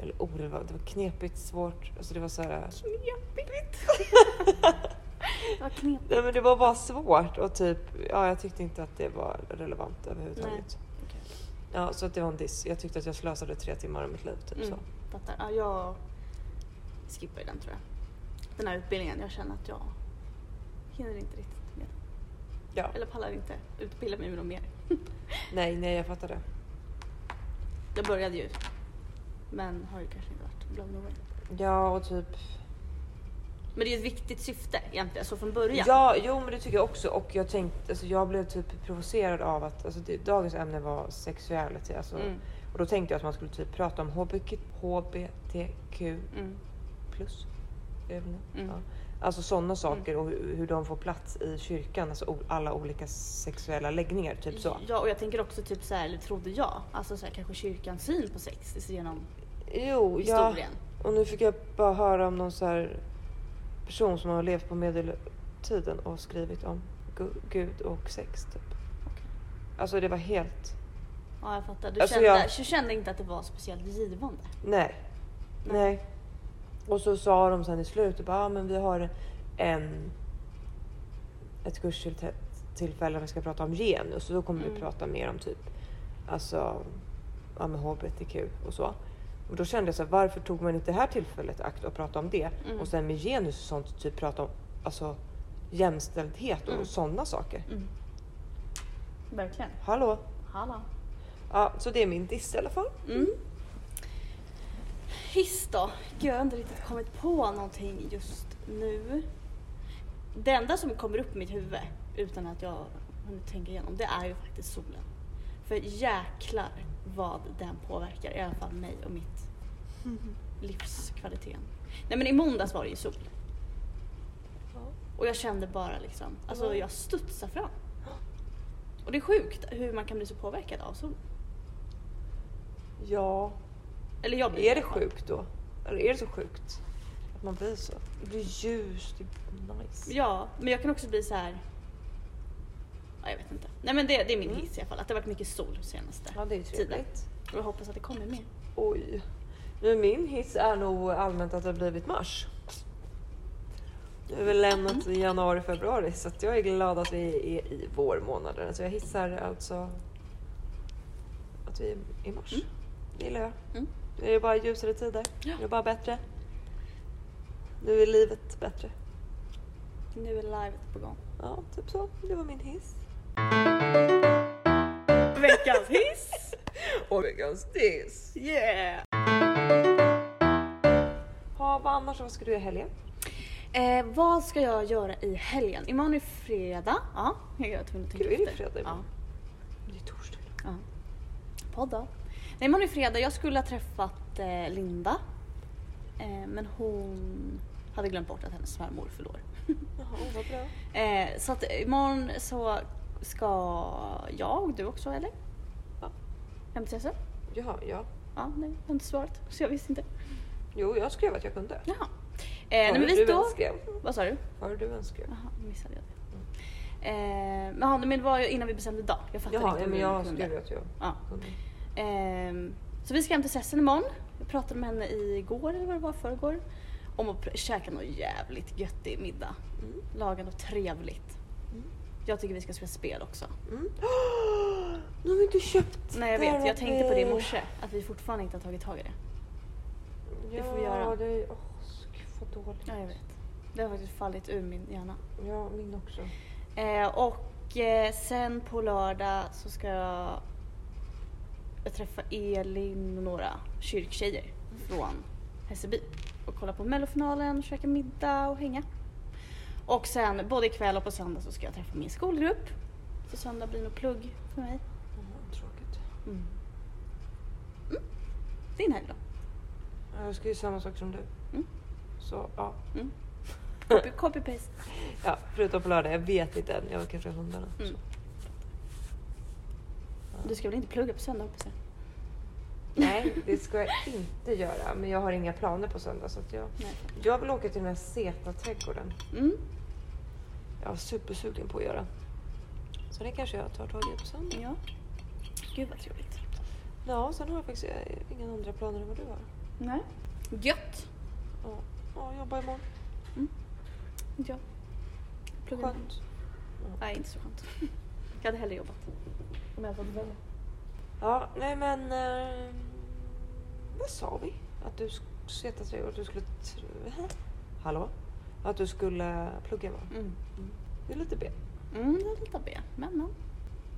Speaker 1: Eller orelevant, det var knepigt, svårt. Alltså det var så här...
Speaker 2: Knepigt. Vad knepigt.
Speaker 1: Nej men det var bara svårt och typ, ja jag tyckte inte att det var relevant överhuvudtaget.
Speaker 2: Okej.
Speaker 1: Ja, så att det var en diss. Jag tyckte att jag slösade tre timmar av mitt liv typ
Speaker 2: Mm,
Speaker 1: så.
Speaker 2: fattar. Ja, jag skippar ju den tror jag. Den här utbildningen, jag känner att jag hinner inte riktigt med.
Speaker 1: Ja.
Speaker 2: Eller pallar inte utbilda mig med något mer.
Speaker 1: Nej, nej jag fattar det.
Speaker 2: Jag började ju, men har ju kanske inte varit blown away.
Speaker 1: Ja och typ...
Speaker 2: Men det är ju ett viktigt syfte egentligen, så från början.
Speaker 1: Ja, jo men det tycker jag också och jag tänkte, alltså jag blev typ provocerad av att alltså, det, dagens ämne var sexuality alltså.
Speaker 2: Mm,
Speaker 1: Och då tänkte jag att man skulle typ prata om HBQ, HBTQ
Speaker 2: mm,
Speaker 1: plus. är det väl det?
Speaker 2: Mm.
Speaker 1: Ja. Alltså sådana saker och hur, hur de får plats i kyrkan, alltså o- alla olika sexuella läggningar, typ så.
Speaker 2: Ja, och jag tänker också typ så här, eller trodde jag, alltså så här, kanske kyrkans syn på sex genom
Speaker 1: Jo, Oh, ja.
Speaker 2: historien.
Speaker 1: Och nu fick jag bara höra om någon så här person som har levt på medel tiden och skrivit om gu- Gud och sex typ.
Speaker 2: Okej.
Speaker 1: Alltså det var helt...
Speaker 2: Ja jag fattar. Du,
Speaker 1: Alltså,
Speaker 2: kände,
Speaker 1: jag-
Speaker 2: du kände inte att det var speciellt givande?
Speaker 1: Nej. Nej. Och så sa de sen i slutet bara, ah, men vi har en... Ett kurstillfälle vi ska prata om genus och då kommer vi
Speaker 2: Mm.
Speaker 1: prata mer om typ alltså ja, med hbtq och så. Och då kände jag så här, varför tog man inte det här tillfället i akt och prata om det?
Speaker 2: Mm.
Speaker 1: Och sen med genus och sånt, typ prata om alltså, jämställdhet och
Speaker 2: Mm.
Speaker 1: sådana saker.
Speaker 2: Mm. Verkligen.
Speaker 1: Hallå?
Speaker 2: Hallå.
Speaker 1: Ja, så det är min diss i alla fall.
Speaker 2: Mm. Hiss då? Gud, jag har inte riktigt kommit på någonting just nu. Det enda som kommer upp i mitt huvud utan att jag hunnit tänka igenom det är ju faktiskt solen. För jäklar vad den påverkar i alla fall mig och mitt livskvaliteten. Nej men i måndags var det ju sol och jag kände bara liksom, alltså
Speaker 1: Mm.
Speaker 2: jag studsade fram. Och det är sjukt hur man kan bli så påverkad av solen.
Speaker 1: Ja,
Speaker 2: Eller jag blir i
Speaker 1: Är det
Speaker 2: alla fall.
Speaker 1: sjukt då? Eller är det så sjukt? Att man blir så? Det blir ljust, det blir nice.
Speaker 2: Ja, men jag kan också bli så här. Ja, jag vet inte. Nej men det, det är min hiss i alla fall. Att det har varit mycket sol senaste
Speaker 1: Mm. Ja, det är ju trevligt.
Speaker 2: Och jag hoppas att det kommer mer.
Speaker 1: Oj. Nu min hiss är nog allmänt att det har blivit mars. Nu har vi
Speaker 2: Mm.
Speaker 1: lämnat januari, februari så att jag är glad att vi är i vårmånaderna. Så jag hissar alltså att vi är i mars.
Speaker 2: Mm.
Speaker 1: Det gillar jag.
Speaker 2: Mm.
Speaker 1: Nu är det bara ljusare tider.
Speaker 2: Ja.
Speaker 1: Nu är det bara bättre. Nu är livet bättre.
Speaker 2: Nu är live på gång.
Speaker 1: Ja, typ så. Det var min hiss.
Speaker 2: Veckans hiss!
Speaker 1: Och veckans diss.
Speaker 2: Yeah!
Speaker 1: Ja, vad annars? Vad ska du göra i helgen?
Speaker 2: Eh, vad ska jag göra i helgen? Imorgon är fredag. Ja, jag var tvungen att tänka
Speaker 1: Gud, är det
Speaker 2: efter.
Speaker 1: fredag
Speaker 2: Ja.
Speaker 1: imorgon? Det är torsdag.
Speaker 2: ja. Podd då? Nej, imorgon är fredag. Jag skulle ha träffat eh, Linda. Eh, men hon hade glömt bort att hennes svärmor förlor.
Speaker 1: Jaha, vad bra.
Speaker 2: Eh, så att imorgon så ska jag och du också eller?
Speaker 1: Ja.
Speaker 2: MTSF?
Speaker 1: Jaha, ja.
Speaker 2: Ja, nej, jag har inte svarat så jag visste inte.
Speaker 1: Jo, jag skrev att jag kunde.
Speaker 2: Jaha. Eh, nej, men
Speaker 1: Hörde
Speaker 2: vi
Speaker 1: du
Speaker 2: står...
Speaker 1: önskar?
Speaker 2: Vad sa du?
Speaker 1: Hörde du önskar?
Speaker 2: Jaha, missade jag det. Eh, men, ja, men det var ju innan vi bestämde dag. Jag fattade
Speaker 1: Jaha,
Speaker 2: inte
Speaker 1: ja,
Speaker 2: om
Speaker 1: men
Speaker 2: vi
Speaker 1: jag
Speaker 2: kunde.
Speaker 1: skrev att jag
Speaker 2: Ja.
Speaker 1: kunde.
Speaker 2: Ehm, så vi ska hem till Sessen imorgon. Jag pratade med henne igår eller vad det var förrgår. Om att pr- käka något jävligt göttig middag.
Speaker 1: Mm.
Speaker 2: Laga något trevligt.
Speaker 1: Mm.
Speaker 2: Jag tycker vi ska spela spel också.
Speaker 1: Mm. Nu har vi inte köpt
Speaker 2: Nej jag vet, jag tänkte på det i
Speaker 1: där.
Speaker 2: morse. Att vi fortfarande inte har tagit tag i det.
Speaker 1: Ja,
Speaker 2: Det får vi göra.
Speaker 1: Det är... Åh, så gud vad dåligt.
Speaker 2: Ja jag vet. Det har faktiskt fallit ur min hjärna.
Speaker 1: Ja, min också.
Speaker 2: Eh, och eh, sen på lördag så ska jag, jag träffa Elin och några kyrktjejer från Hässelby. Och kolla på mellofinalen, käka middag och hänga. Och sen både ikväll och på söndag så ska jag träffa min skolgrupp. Så söndag blir nog plugg för mig.
Speaker 1: Jaha, tråkigt.
Speaker 2: Mm. Mm. Din helg då?
Speaker 1: Ja, Jag ska ju samma sak som du.
Speaker 2: Mm.
Speaker 1: Så ja.
Speaker 2: Mm. Copy, copy paste.
Speaker 1: ja. Förutom på lördag, jag vet inte än. Jag har kanske hundarna.
Speaker 2: Mm.
Speaker 1: Så.
Speaker 2: Du ska väl inte plugga på söndag hoppas jag?
Speaker 1: Nej, det ska jag inte göra. Men jag har inga planer på söndag. Så att jag,
Speaker 2: Nej.
Speaker 1: jag vill åka till den här Zeta-trädgården.
Speaker 2: Mm.
Speaker 1: Jag var supersugen på att göra. Så det kanske jag tar tag i på söndag.
Speaker 2: Ja. Gud vad trevligt.
Speaker 1: Ja, sen har jag faktiskt eh, inga andra planer än vad du har.
Speaker 2: Nej. Gött.
Speaker 1: Ja, ja jobba imorgon.
Speaker 2: Ja. Plugga imorgon.
Speaker 1: Skönt.
Speaker 2: Nej, inte så skönt. Jag hade hellre jobbat. Om jag fått välja.
Speaker 1: Ja, nej men... Eh, vad sa vi? Att du, sk- Zeta-trädgården, att du skulle... tr- Hä? Hallå? Att du skulle plugga imorgon.
Speaker 2: Mm.
Speaker 1: Det är lite B.
Speaker 2: Mm, det är lite B. Men men.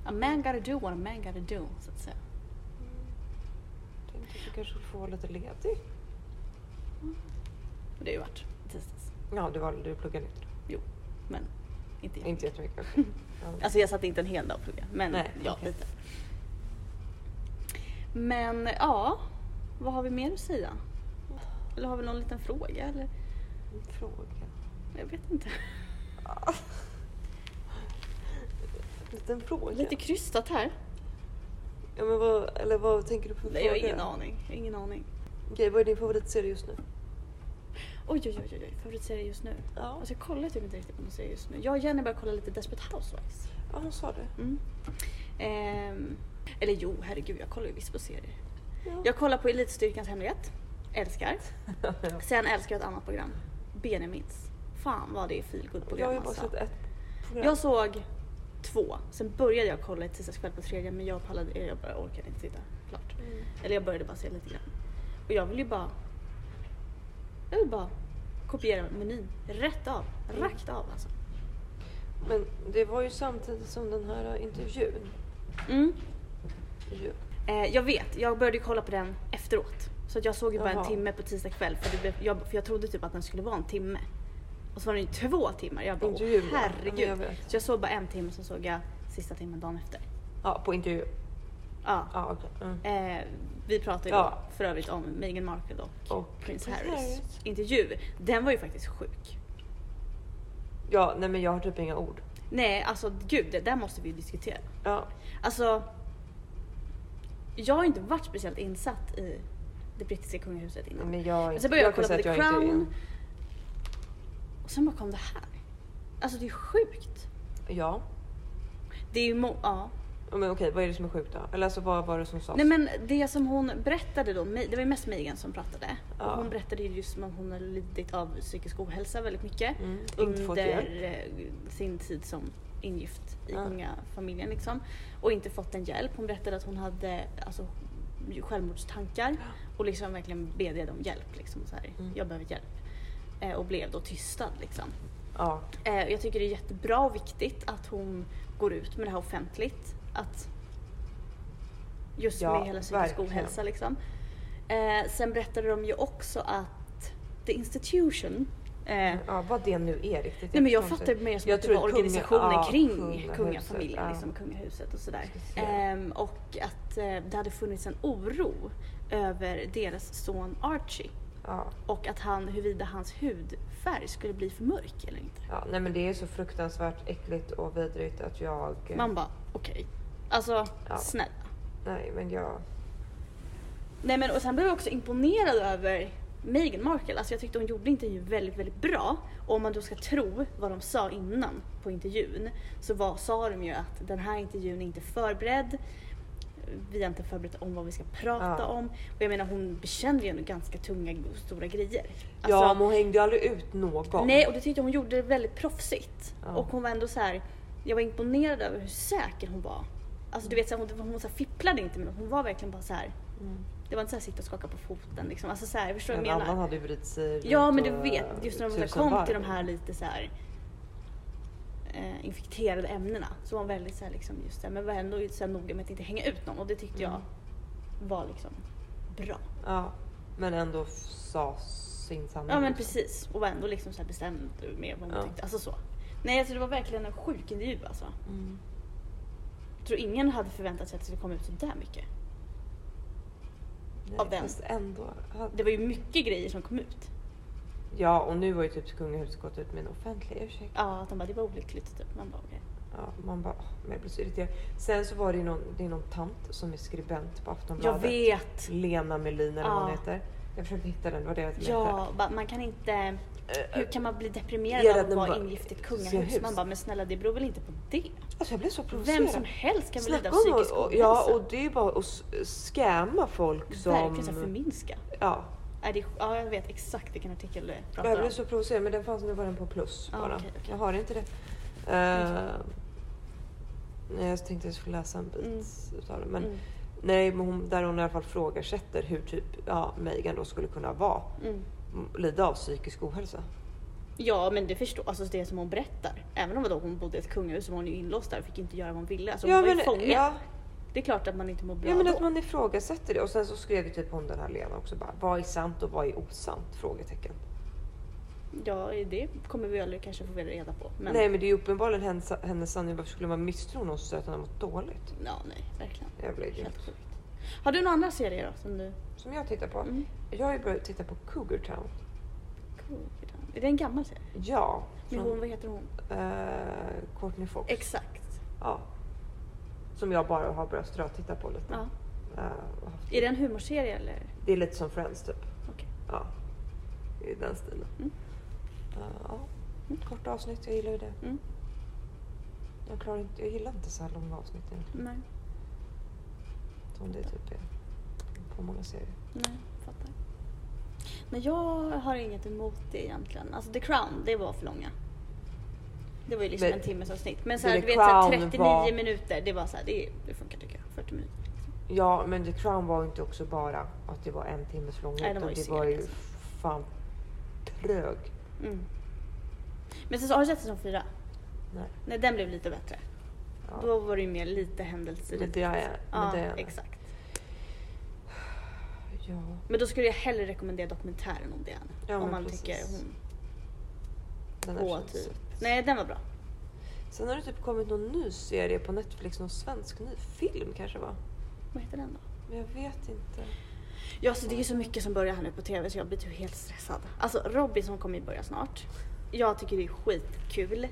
Speaker 2: A man gotta do what a man gotta do, så att säga.
Speaker 1: Tänkte att du kanske skulle få vara lite ledig.
Speaker 2: Och det har ju varit i tisdags.
Speaker 1: Ja, du, var, du pluggade inte.
Speaker 2: Men inte jag.
Speaker 1: Inte jättemycket. okej. Ja.
Speaker 2: Alltså jag satt inte en hel dag och pluggade, men
Speaker 1: Nej,
Speaker 2: ja,
Speaker 1: okej.
Speaker 2: lite. Men ja, vad har vi mer att säga? Eller har vi någon liten fråga eller?
Speaker 1: En Fråga.
Speaker 2: Jag vet inte.
Speaker 1: En liten fråga.
Speaker 2: Lite krystat här.
Speaker 1: Ja, men vad, eller vad tänker du på för
Speaker 2: Nej, jag har
Speaker 1: fråga
Speaker 2: ingen
Speaker 1: då?
Speaker 2: aning. Jag har ingen aning.
Speaker 1: Okej, vad är din favoritserie just nu?
Speaker 2: Oj, oj, oj, oj, oj. favoritserie just nu.
Speaker 1: Ja.
Speaker 2: Alltså jag kollar typ inte riktigt på någon serie just nu. Jag och Jenny börjar kolla lite Desperate Housewives.
Speaker 1: ja, hon sa det.
Speaker 2: Mm. Ehm, eller jo, herregud jag kollar ju visst på serier.
Speaker 1: Ja.
Speaker 2: Jag kollar på Elitstyrkans hemlighet. Älskar.
Speaker 1: Ja.
Speaker 2: Sen älskar jag ett annat program. Benjamins. Fan vad det är
Speaker 1: Jag har
Speaker 2: feelgood-program
Speaker 1: ju bara
Speaker 2: alltså.
Speaker 1: sett ett program.
Speaker 2: Jag såg två. Sen började jag kolla ett tisdagskväll på tredje men jag pallade, jag bara orkade inte sitta klart.
Speaker 1: Mm.
Speaker 2: Eller jag började bara se lite grann. Och jag vill ju bara... Jag vill bara kopiera menyn. Rätt av. Rakt av alltså.
Speaker 1: Men det var ju samtidigt som den här intervjun.
Speaker 2: Mm.
Speaker 1: Ju.
Speaker 2: Eh, jag vet, jag började ju kolla på den efteråt. Så att jag såg ju bara
Speaker 1: Jaha.
Speaker 2: en timme på tisdag kväll för, det blev, jag, för jag trodde typ att den skulle vara en timme. Och så var den ju två timmar. Jag bara,
Speaker 1: Intervjun,
Speaker 2: åh,
Speaker 1: ja. Ja,
Speaker 2: herregud.
Speaker 1: men jag vet.
Speaker 2: så jag såg bara en timme, sen såg jag sista timmen dagen efter.
Speaker 1: Ja, på intervju.
Speaker 2: Ja.
Speaker 1: Ja, okej. Mm.
Speaker 2: Eh, vi pratade ju
Speaker 1: Ja.
Speaker 2: då för övrigt om Meghan Markle och,
Speaker 1: Och
Speaker 2: Prince
Speaker 1: Prince
Speaker 2: Harrys
Speaker 1: Harrys.
Speaker 2: intervju. Den var ju faktiskt sjuk.
Speaker 1: Ja, nej men jag har typ inga ord.
Speaker 2: Nej, alltså gud, det där måste vi ju diskutera.
Speaker 1: Ja,
Speaker 2: Alltså, jag har inte varit speciellt insatt i det brittiska kungahuset
Speaker 1: nej,
Speaker 2: innan.
Speaker 1: men jag,
Speaker 2: Men sen började jag,
Speaker 1: kan
Speaker 2: kolla på
Speaker 1: säga
Speaker 2: The
Speaker 1: att jag inte är
Speaker 2: Crown.
Speaker 1: en-
Speaker 2: Och sen bara kom det här. Alltså det är sjukt.
Speaker 1: Ja,
Speaker 2: Det är ju må- ja.
Speaker 1: men okej, vad är det som är sjukt då? Eller alltså vad var det som sades?
Speaker 2: Nej men det som hon berättade då, Ma- det var ju mest Megan som pratade. Och
Speaker 1: Ja.
Speaker 2: hon berättade ju just om att hon har lidit av psykisk ohälsa väldigt mycket.
Speaker 1: Mm, inte fått
Speaker 2: Under
Speaker 1: hjälp.
Speaker 2: eh, sin tid som ingift i
Speaker 1: Ja.
Speaker 2: kungafamiljen liksom. Och inte fått den hjälp. Hon berättade att hon hade alltså, självmordstankar. Och liksom verkligen bedjade om hjälp. Liksom, så här.
Speaker 1: Mm.
Speaker 2: Jag behöver hjälp. Eh, och blev då tystad liksom.
Speaker 1: Ja,
Speaker 2: Eh, Jag tycker det är jättebra och viktigt att hon går ut med det här offentligt. Att just
Speaker 1: Ja,
Speaker 2: med hela psykisk
Speaker 1: verkligen.
Speaker 2: ohälsa liksom. Eh, sen berättade de ju också att The Institution eh,
Speaker 1: ja, vad det nu är riktigt.
Speaker 2: Nej men jag
Speaker 1: förstår
Speaker 2: fattar
Speaker 1: inte.
Speaker 2: mer som
Speaker 1: Jag
Speaker 2: att det
Speaker 1: tror
Speaker 2: var
Speaker 1: att kunga-
Speaker 2: organisationen
Speaker 1: ja,
Speaker 2: kring
Speaker 1: kungahuset,
Speaker 2: kungafamiljen,
Speaker 1: ja.
Speaker 2: liksom kungahuset och sådär.
Speaker 1: Ska se.
Speaker 2: Ehm, och att eh, det hade funnits en oro över deras son Archie.
Speaker 1: Ja,
Speaker 2: Och att han, huruvida hans hudfärg skulle bli för mörk eller inte.
Speaker 1: ja, nej men det är så fruktansvärt äckligt och vidrigt att jag...
Speaker 2: Man bara, okej. Alltså,
Speaker 1: Ja.
Speaker 2: snälla.
Speaker 1: Nej men jag...
Speaker 2: Nej men och sen blev jag också imponerad över Meghan Markle. Alltså jag tyckte hon gjorde intervjun väldigt, väldigt bra. Och om man då ska tro vad de sa innan på intervjun så var, sa de ju att den här intervjun är inte förberedd. Vi har inte förberett om vad vi ska prata
Speaker 1: Ja.
Speaker 2: om. Och jag menar hon bekände ju ändå ganska tunga och stora grejer. Alltså,
Speaker 1: ja men hon hängde ju aldrig ut någon.
Speaker 2: Nej, och det tyckte jag hon gjorde väldigt proffsigt.
Speaker 1: Ja.
Speaker 2: Och hon var ändå så här, jag var imponerad över hur säker hon var. Alltså du vet, så här, hon, hon så här fipplade inte med något. Hon var verkligen bara så här.
Speaker 1: Mm.
Speaker 2: Det var inte så här sitta och skaka på foten liksom. Alltså så här, förstår du
Speaker 1: En
Speaker 2: vad jag
Speaker 1: annan
Speaker 2: menar?
Speaker 1: hade ju vridit sig
Speaker 2: Ja
Speaker 1: runt
Speaker 2: men du
Speaker 1: och,
Speaker 2: vet, just när de
Speaker 1: tusen
Speaker 2: så här kom
Speaker 1: varv.
Speaker 2: till de här lite så här eh, infekterade ämnena så var hon väldigt så här liksom just det, men var ändå så här noga med att inte hänga ut någon och det tyckte
Speaker 1: Mm.
Speaker 2: jag var liksom bra.
Speaker 1: Ja, men ändå f- sa sin sanning.
Speaker 2: Ja men
Speaker 1: liksom.
Speaker 2: precis och var ändå liksom så här bestämd med vad hon
Speaker 1: Ja.
Speaker 2: tyckte. Alltså så. Nej alltså det var verkligen en sjuk intervju alltså.
Speaker 1: Mm.
Speaker 2: Jag tror ingen hade förväntat sig att det skulle komma ut så där mycket.
Speaker 1: Nej,
Speaker 2: Av den.
Speaker 1: Fast ändå. hade-
Speaker 2: Det var ju mycket grejer som kom ut.
Speaker 1: Ja och nu har ju typ kungahuset gått ut med en offentlig ursäkt.
Speaker 2: Ja, att de bara det var olyckligt typ. Man bara okej.
Speaker 1: Ja, man bara, åh, men jag blir så irriterad. Sen så var det ju någon, det är någon tant som är skribent på
Speaker 2: Jag
Speaker 1: Aftonbladet.
Speaker 2: vet!
Speaker 1: Lena Melin eller vad hon
Speaker 2: Ja.
Speaker 1: heter. Jag försökte hitta den, det var det jag letade
Speaker 2: Ja, bara, man kan inte...
Speaker 1: efter. Eh,
Speaker 2: Hur
Speaker 1: eh,
Speaker 2: kan man bli
Speaker 1: Är
Speaker 2: deprimerad
Speaker 1: det
Speaker 2: av att
Speaker 1: den
Speaker 2: vara
Speaker 1: bara-
Speaker 2: ingift i ett kungahus?
Speaker 1: hus?
Speaker 2: Man bara, men snälla det beror väl inte på det?
Speaker 1: Alltså jag blev så provocerad.
Speaker 2: Vem som helst kan väl lida
Speaker 1: Snacka
Speaker 2: av
Speaker 1: om
Speaker 2: psykisk
Speaker 1: och, och, Ja och det är ju bara att s- skämma folk som...
Speaker 2: Verkligen så här förminska.
Speaker 1: Ja,
Speaker 2: Är det, ja, jag vet exakt vilken artikel du pratar
Speaker 1: jag
Speaker 2: om.
Speaker 1: blev så provocerad men den fanns, nu var den på plus
Speaker 2: Ah,
Speaker 1: bara.
Speaker 2: okej, okej.
Speaker 1: Jag har inte det. Eh, nej, jag tänkte jag skulle läsa en bit utav det. Men,
Speaker 2: Mm.
Speaker 1: Nej, men hon, där hon i alla fall frågasätter hur typ ja, Megan då skulle kunna vara,
Speaker 2: Mm.
Speaker 1: m- lida av psykisk ohälsa.
Speaker 2: Ja men det förstår, alltså det som hon berättar. Även om då hon bodde i ett kungahus så var hon ju inlåst där och fick inte göra vad hon ville. Alltså hon
Speaker 1: ja,
Speaker 2: var ju
Speaker 1: men,
Speaker 2: fånge.
Speaker 1: ja,
Speaker 2: Det är klart att man inte mår bra
Speaker 1: ja, men
Speaker 2: då.
Speaker 1: att man ifrågasätter det. Och sen så skrev ju typ hon den här Lena också bara, vad är sant och vad är osant? Frågetecken.
Speaker 2: Ja, det kommer vi aldrig kanske få reda på. Men...
Speaker 1: Nej, men det är ju uppenbarligen hennes, hennes sanning. Varför skulle man misstro någon som säger att hon har mått dåligt?
Speaker 2: Ja, nej, verkligen.
Speaker 1: Jävla idiot.
Speaker 2: Helt sjukt. Har du några andra serier då? Som du...
Speaker 1: Som jag tittar på.
Speaker 2: Mm.
Speaker 1: Jag har ju börjat titta på Cougar Town.
Speaker 2: Är det en gammal serie?
Speaker 1: Ja.
Speaker 2: Med
Speaker 1: Från,
Speaker 2: hon, vad heter hon?
Speaker 1: eh, Courtney Fox.
Speaker 2: Exakt.
Speaker 1: ja. Som jag bara har börjat strötitta på lite.
Speaker 2: Ja.
Speaker 1: Eh, och haft-
Speaker 2: Är det en humorserie eller?
Speaker 1: Det är lite som Friends typ.
Speaker 2: Okej.
Speaker 1: Ja. I den stilen.
Speaker 2: Mm.
Speaker 1: Eh, ja. Korta avsnitt, jag gillar ju det.
Speaker 2: Mm.
Speaker 1: Jag, klarar inte, jag gillar inte så här långa avsnitt egentligen.
Speaker 2: Nej,
Speaker 1: Som det typ är på många serier.
Speaker 2: nej, fattar. Men jag har inget emot det egentligen. Alltså The Crown, det var för långa. Det var ju liksom
Speaker 1: Men-
Speaker 2: en timmes avsnitt. Men så
Speaker 1: Men
Speaker 2: här,
Speaker 1: The
Speaker 2: du vet, så här,
Speaker 1: Crown
Speaker 2: 39
Speaker 1: var-
Speaker 2: minuter, det var så här, det, det funkar tycker jag. 40 minuter.
Speaker 1: Ja, men The Crown var ju inte också bara att det var en timmes för lång.
Speaker 2: Nej, de
Speaker 1: utan
Speaker 2: var ju
Speaker 1: det
Speaker 2: sega,
Speaker 1: var ju
Speaker 2: alltså.
Speaker 1: fan trög.
Speaker 2: Mm. Men sen så har du sett säsong fyra?
Speaker 1: Nej.
Speaker 2: Nej, den blev lite bättre.
Speaker 1: Ja.
Speaker 2: Då var det ju mer lite händelse.
Speaker 1: Men det typ- är men
Speaker 2: ja,
Speaker 1: det är-
Speaker 2: exakt.
Speaker 1: Ja.
Speaker 2: Men då skulle jag hellre rekommendera dokumentären om Diana.
Speaker 1: Ja,
Speaker 2: om
Speaker 1: men
Speaker 2: man
Speaker 1: precis.
Speaker 2: tycker hon
Speaker 1: Den är
Speaker 2: på
Speaker 1: fin.
Speaker 2: typ. Nej, den var bra.
Speaker 1: Sen har det typ kommit någon ny serie på Netflix, någon svensk ny film kanske va?
Speaker 2: Vad heter den då?
Speaker 1: Men jag vet inte.
Speaker 2: Ja, så det är ju så mycket som börjar här nu på TV så jag blir ju helt stressad. Alltså Robinson kommer ju börja snart. Jag tycker det är skitkul.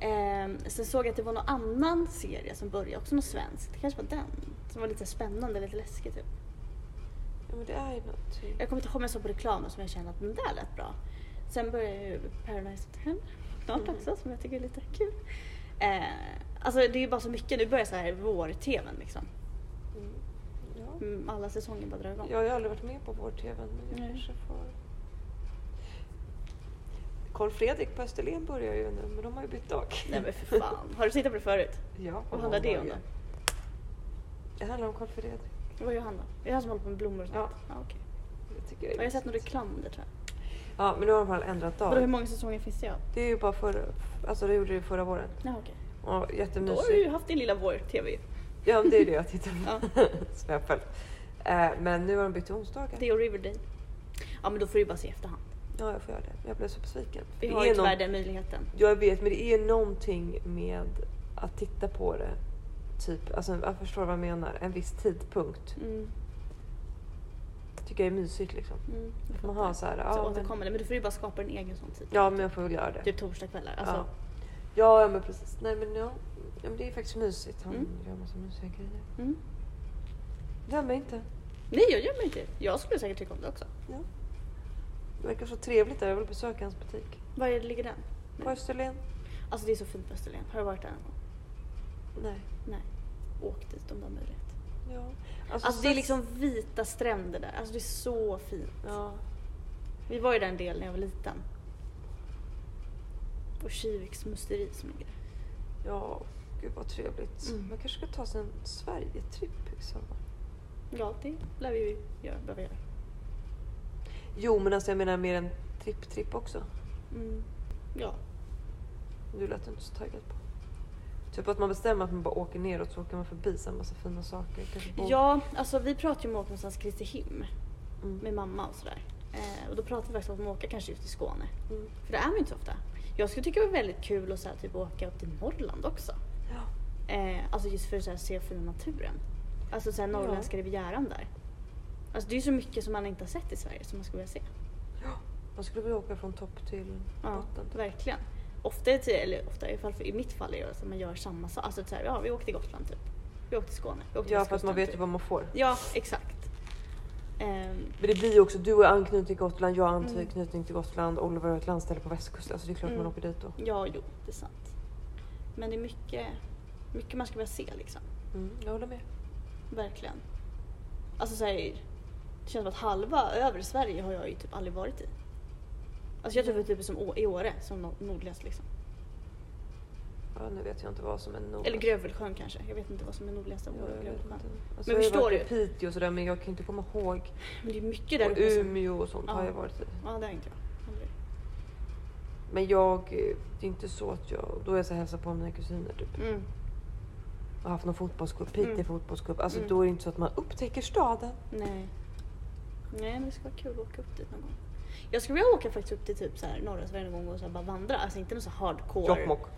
Speaker 2: Ehm, sen såg jag att det var någon annan serie som började, också någon svensk. Det kanske var den. Som var lite spännande, lite läskig typ.
Speaker 1: Ja men det är ju något. typ-
Speaker 2: Jag kommer inte ihåg om jag såg på reklamen som jag kände att den där lät bra. Sen börjar ju Paradise Hotel snart
Speaker 1: Mm.
Speaker 2: också som jag tycker är lite kul. Eh, alltså det är ju bara så mycket, nu börjar så här vår-tvn liksom.
Speaker 1: Mm. Ja.
Speaker 2: Mm, Alla säsonger bara drar igång.
Speaker 1: Jag har ju aldrig varit med på vår-tv men jag
Speaker 2: Nej.
Speaker 1: kanske får... Karl Fredrik på Österlen börjar ju nu men de har ju bytt dag.
Speaker 2: Nej men för fan, har du tittat på det förut?
Speaker 1: ja,
Speaker 2: Vad handlar det om då?
Speaker 1: Det handlar om Karl Fredrik.
Speaker 2: Vad gör han då? Är det han som håller på med blommor och sånt? Ja. okej.
Speaker 1: Jag tycker det är
Speaker 2: Jag har sett någon
Speaker 1: mysigt.
Speaker 2: reklam om det tror jag.
Speaker 1: Ja men nu har de i alla fall ändrat
Speaker 2: Vadå hur
Speaker 1: dag.
Speaker 2: många säsonger finns det av?
Speaker 1: Det är ju bara förra, alltså det gjorde det förra våren.
Speaker 2: Ja okej.
Speaker 1: Ja,
Speaker 2: Då
Speaker 1: jättemysigt.
Speaker 2: har du ju haft din lilla vår-tv ju.
Speaker 1: Ja, men det är det jag tittar
Speaker 2: Ja.
Speaker 1: på. Som jag har följt. Eh, men nu har de bytt till onsdagar.
Speaker 2: Det och Riverdale. Ja men då får du ju bara se i efterhand.
Speaker 1: Ja, jag får göra det. Jag blev så besviken.
Speaker 2: Vi
Speaker 1: Det
Speaker 2: har
Speaker 1: är
Speaker 2: ju tyvärr
Speaker 1: någon-
Speaker 2: den möjligheten.
Speaker 1: Jag vet, men det är någonting med att titta på det. Typ, alltså, jag förstår vad jag menar. En viss tidpunkt.
Speaker 2: Mm,
Speaker 1: Tycker jag är mysigt liksom.
Speaker 2: mm, jag
Speaker 1: Man
Speaker 2: fattar.
Speaker 1: har så här,
Speaker 2: Så
Speaker 1: ja, men,
Speaker 2: återkommande. Men du får ju bara skapa en egen sån tid.
Speaker 1: ja men jag får väl göra det.
Speaker 2: Typ torsdagskvällar. Alltså,
Speaker 1: ja. Ja, ja, men precis. Nej men ja. ja men det är faktiskt mysigt. Han
Speaker 2: Mm.
Speaker 1: gör massa mysiga grejer.
Speaker 2: mm.
Speaker 1: Döm mig inte.
Speaker 2: Nej jag gör mig inte. Jag skulle säkert tycka om det också.
Speaker 1: Ja. Det verkar så trevligt där. Jag vill besöka hans butik.
Speaker 2: Var är det ligger den?
Speaker 1: På
Speaker 2: Nej.
Speaker 1: Österlen?
Speaker 2: Alltså det är så fint på Österlen. Har du varit där någon gång?
Speaker 1: Nej.
Speaker 2: Nej. Åk dit om du har möjlighet.
Speaker 1: Ja.
Speaker 2: Alltså, det är liksom vita stränder där. Alltså det är så fint.
Speaker 1: Ja.
Speaker 2: Vi var ju där en del när jag var liten. Och Kiviks musteri som ligger där.
Speaker 1: ja, gud vad trevligt.
Speaker 2: Mm.
Speaker 1: Man kanske ska ta sig en Sverige-tripp i sommar.
Speaker 2: Ja, det lär vi ju göra, behöva göra.
Speaker 1: Jo, men alltså jag menar mer en tripp-tripp också.
Speaker 2: Mm. Ja.
Speaker 1: Du lät inte så taggad på. Typ att man bestämmer att man bara åker neråt så åker man förbi så en massa fina saker. Kanske bo-
Speaker 2: ja, alltså vi pratade ju om att åka någonstans Kristihem
Speaker 1: Mm.
Speaker 2: med mamma och sådär. Eh, och då pratade vi faktiskt om att åka kanske ut i Skåne.
Speaker 1: Mm.
Speaker 2: För det är man ju inte så ofta. Jag skulle tycka det var väldigt kul att så här, typ, åka upp till Norrland också.
Speaker 1: Ja.
Speaker 2: Eh, alltså just för att så här, se fina naturen. Alltså så här, norrländska rivieran där. Alltså det är ju så mycket som man inte har sett i Sverige som man skulle vilja se.
Speaker 1: Ja. Man skulle vilja åka från topp till
Speaker 2: Ja,
Speaker 1: botten. typ.
Speaker 2: verkligen. Ofta, är det, eller ofta i, fall, för- i mitt fall är det att man gör samma sak. Alltså så här, ja vi åkte till Gotland typ. Vi åkte till Skåne. Vi åkte till
Speaker 1: Ja, för att man
Speaker 2: västkusten,
Speaker 1: vet ju
Speaker 2: typ.
Speaker 1: vad man får.
Speaker 2: Ja, exakt. Ehm,
Speaker 1: Men det blir ju också, du har anknytning till Gotland, jag har anknytning till Gotland, Oliver har ett landställe på västkusten. Alltså det är klart
Speaker 2: Mm.
Speaker 1: man åker dit då.
Speaker 2: ja, jo, det är sant. Men det är mycket, mycket man ska vilja se liksom.
Speaker 1: Mm, jag håller med.
Speaker 2: Verkligen. Alltså så här, det känns som att halva övre Sverige har jag ju typ aldrig varit i. Alltså jag tror att det är typ som Å- i Åre som nor- nordligast liksom.
Speaker 1: Ja, nu vet jag inte vad som är nog.
Speaker 2: Eller Grövelsjön kanske. Jag vet inte vad som är nordligast av
Speaker 1: Ja,
Speaker 2: Åre
Speaker 1: jag
Speaker 2: och
Speaker 1: vet
Speaker 2: Grövelsjön.
Speaker 1: inte. Alltså,
Speaker 2: Men
Speaker 1: jag har
Speaker 2: förstår
Speaker 1: varit i
Speaker 2: du?
Speaker 1: Piteå och sådär men jag kan inte komma ihåg.
Speaker 2: Men det är mycket där
Speaker 1: Och
Speaker 2: uppe. som-
Speaker 1: Umeå och sånt har
Speaker 2: Ja.
Speaker 1: jag varit i.
Speaker 2: Ja, det har inte jag. Aldrig.
Speaker 1: Men jag, eh, det är inte så att jag, då är jag så här hälsar på mina kusiner typ.
Speaker 2: Mm.
Speaker 1: Och haft någon fotbollscup, Piteå
Speaker 2: Mm.
Speaker 1: fotbollscup. Alltså
Speaker 2: Mm.
Speaker 1: då är det inte så att man upptäcker staden.
Speaker 2: Nej. Nej, men det ska vara kul att åka upp dit någon gång. Jag skulle vilja åka faktiskt upp till typ så här norra Sverige någon gång och så här bara vandra. Alltså inte någon så här hardcore.
Speaker 1: Jokkmokk.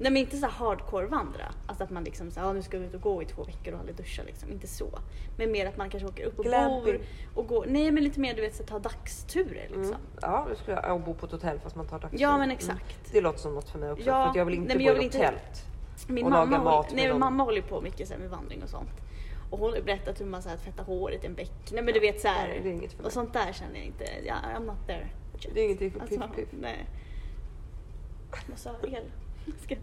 Speaker 2: Nej men inte så här hardcore vandra. Alltså att man liksom så här, "Ja, nu ska vi ut och gå i två veckor och aldrig duscha liksom. Inte så. Men mer att man kanske åker upp och
Speaker 1: Glamping.
Speaker 2: bor och går. Nej men lite mer du vet så här, ta dagsturer liksom.
Speaker 1: Mm. Ja, det skulle jag. Och bo på ett hotell fast man tar dagstur.
Speaker 2: Ja men
Speaker 1: Mm.
Speaker 2: exakt.
Speaker 1: Det låter som något för mig också.
Speaker 2: Ja,
Speaker 1: För att jag vill inte
Speaker 2: nej, men
Speaker 1: bo
Speaker 2: jag
Speaker 1: i
Speaker 2: vill
Speaker 1: något
Speaker 2: inte-
Speaker 1: tält.
Speaker 2: Min
Speaker 1: Och
Speaker 2: mamma,
Speaker 1: laga
Speaker 2: håller,
Speaker 1: mat med
Speaker 2: nej, men
Speaker 1: någon.
Speaker 2: mamma håller ju på mycket så här, med vandring och sånt. Och hon har berättat hur man så här, tvättar håret i en bäck. Nej men du vet så här.
Speaker 1: Nej, det är inget för mig.
Speaker 2: Och sånt där känner jag inte. Ja, I'm not there.
Speaker 1: Det är ingenting för
Speaker 2: Alltså,
Speaker 1: Piff Piff.
Speaker 2: Nej. Massa el. Ska-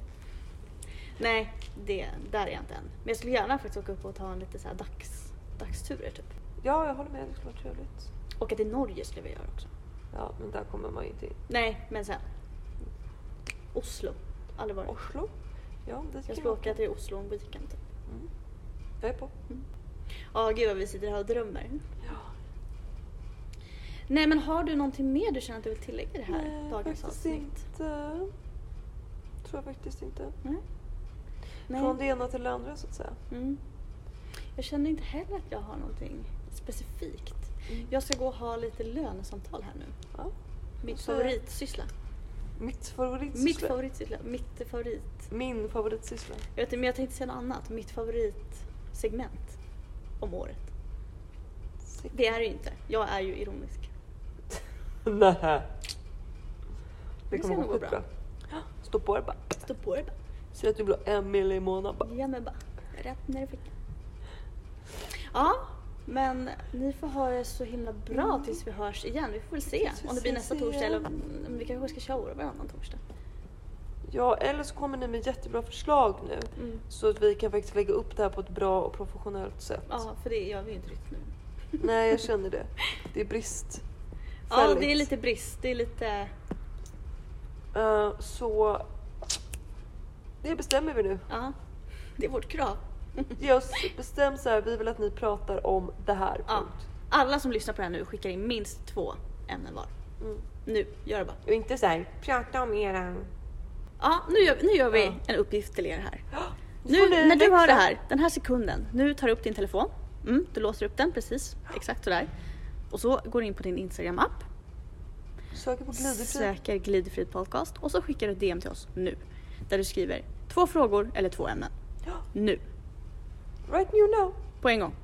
Speaker 2: nej, det, där är jag inte än. Men jag skulle gärna faktiskt åka upp och ta en lite så här dags, dagsturer typ.
Speaker 1: Ja, jag håller med. Det skulle vara trevligt.
Speaker 2: Åka till Norge skulle vi göra också.
Speaker 1: Ja, men där kommer man ju inte in.
Speaker 2: Nej, men sen. Oslo. Aldrig varit.
Speaker 1: Oslo? Ja, det
Speaker 2: Jag
Speaker 1: ska
Speaker 2: ska åka till Oslo en weekend typ. Mm.
Speaker 1: Mm. Jag är på.
Speaker 2: Ja, gud vad vi sitter här och drömmer.
Speaker 1: Ja.
Speaker 2: Nej, men har du någonting mer du känner att du vill tillägga i det här
Speaker 1: Nej,
Speaker 2: dagens
Speaker 1: faktiskt
Speaker 2: avsnitt?
Speaker 1: inte. Tror jag faktiskt inte.
Speaker 2: Nej. Nej.
Speaker 1: Från det ena till det andra så att säga.
Speaker 2: Mm. Jag känner inte heller att jag har någonting specifikt.
Speaker 1: Mm.
Speaker 2: Jag ska gå och ha lite lönesamtal här nu.
Speaker 1: Ja.
Speaker 2: Mitt
Speaker 1: Så-
Speaker 2: favoritsyssla.
Speaker 1: Mitt favoritsyssla.
Speaker 2: Mitt favoritsyssla. Mitt favorit...
Speaker 1: Min favoritsyssla.
Speaker 2: Jag vet inte, men jag tänkte säga något annat. Mitt favoritsegment om året. Det är det ju inte. Jag är ju ironisk.
Speaker 1: Nej. Det
Speaker 2: Det
Speaker 1: kommer
Speaker 2: ska
Speaker 1: gå
Speaker 2: nog gå
Speaker 1: skitbra. Stå på dig bara.
Speaker 2: Stå på dig bara.
Speaker 1: Säg att du blir en mil i månaden bara.
Speaker 2: Ge mig bara. Rätt ner i fickan. Ja, men ni får ha det så himla bra tills vi hörs igen. Vi får väl se
Speaker 1: Mm. Tills vi
Speaker 2: om det blir
Speaker 1: ses
Speaker 2: nästa torsdag eller
Speaker 1: igen.
Speaker 2: om vi kanske ska köra varannan torsdag.
Speaker 1: Ja, eller så kommer ni med jättebra förslag nu.
Speaker 2: Mm.
Speaker 1: Så att vi kan faktiskt lägga upp det här på ett bra och professionellt sätt.
Speaker 2: Ja, för det gör vi ju inte riktigt nu.
Speaker 1: Nej, jag känner det. Det är brist.
Speaker 2: Ja,
Speaker 1: Fälligt.
Speaker 2: det är lite brist. Det är lite...
Speaker 1: Eh, så... Det bestämmer vi nu.
Speaker 2: Ja, det är vårt krav.
Speaker 1: Ge oss bestäm så här, vi vill att ni pratar om det här.
Speaker 2: Ja.
Speaker 1: Punkt.
Speaker 2: Alla som lyssnar på det här nu skickar in minst två ämnen var.
Speaker 1: Mm.
Speaker 2: Nu, gör det bara.
Speaker 1: Och inte så här, prata om eran...
Speaker 2: Ja, nu gör, nu gör vi
Speaker 1: Ja.
Speaker 2: en uppgift till er här.
Speaker 1: Nu får
Speaker 2: Nu,
Speaker 1: ni
Speaker 2: när du hör det
Speaker 1: läxa.
Speaker 2: här, den här sekunden, nu tar du upp din telefon. Mm, du låser upp den precis, exakt sådär. Och så går du in på din Instagram-app,
Speaker 1: Söker på glidefri.
Speaker 2: söker Glidefri podcast och så skickar du ett DM till oss nu. Där du skriver två frågor eller två ämnen.
Speaker 1: Ja.
Speaker 2: Nu,
Speaker 1: Right new now.
Speaker 2: på en gång.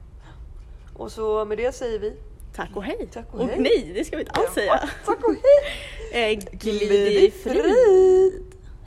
Speaker 1: Och så med det säger vi
Speaker 2: Tack och hej!
Speaker 1: Tack och hej.
Speaker 2: nej, det ska vi inte alls säga.
Speaker 1: tack och hej!
Speaker 2: Eh, Glid i frid.
Speaker 1: Glidefrid!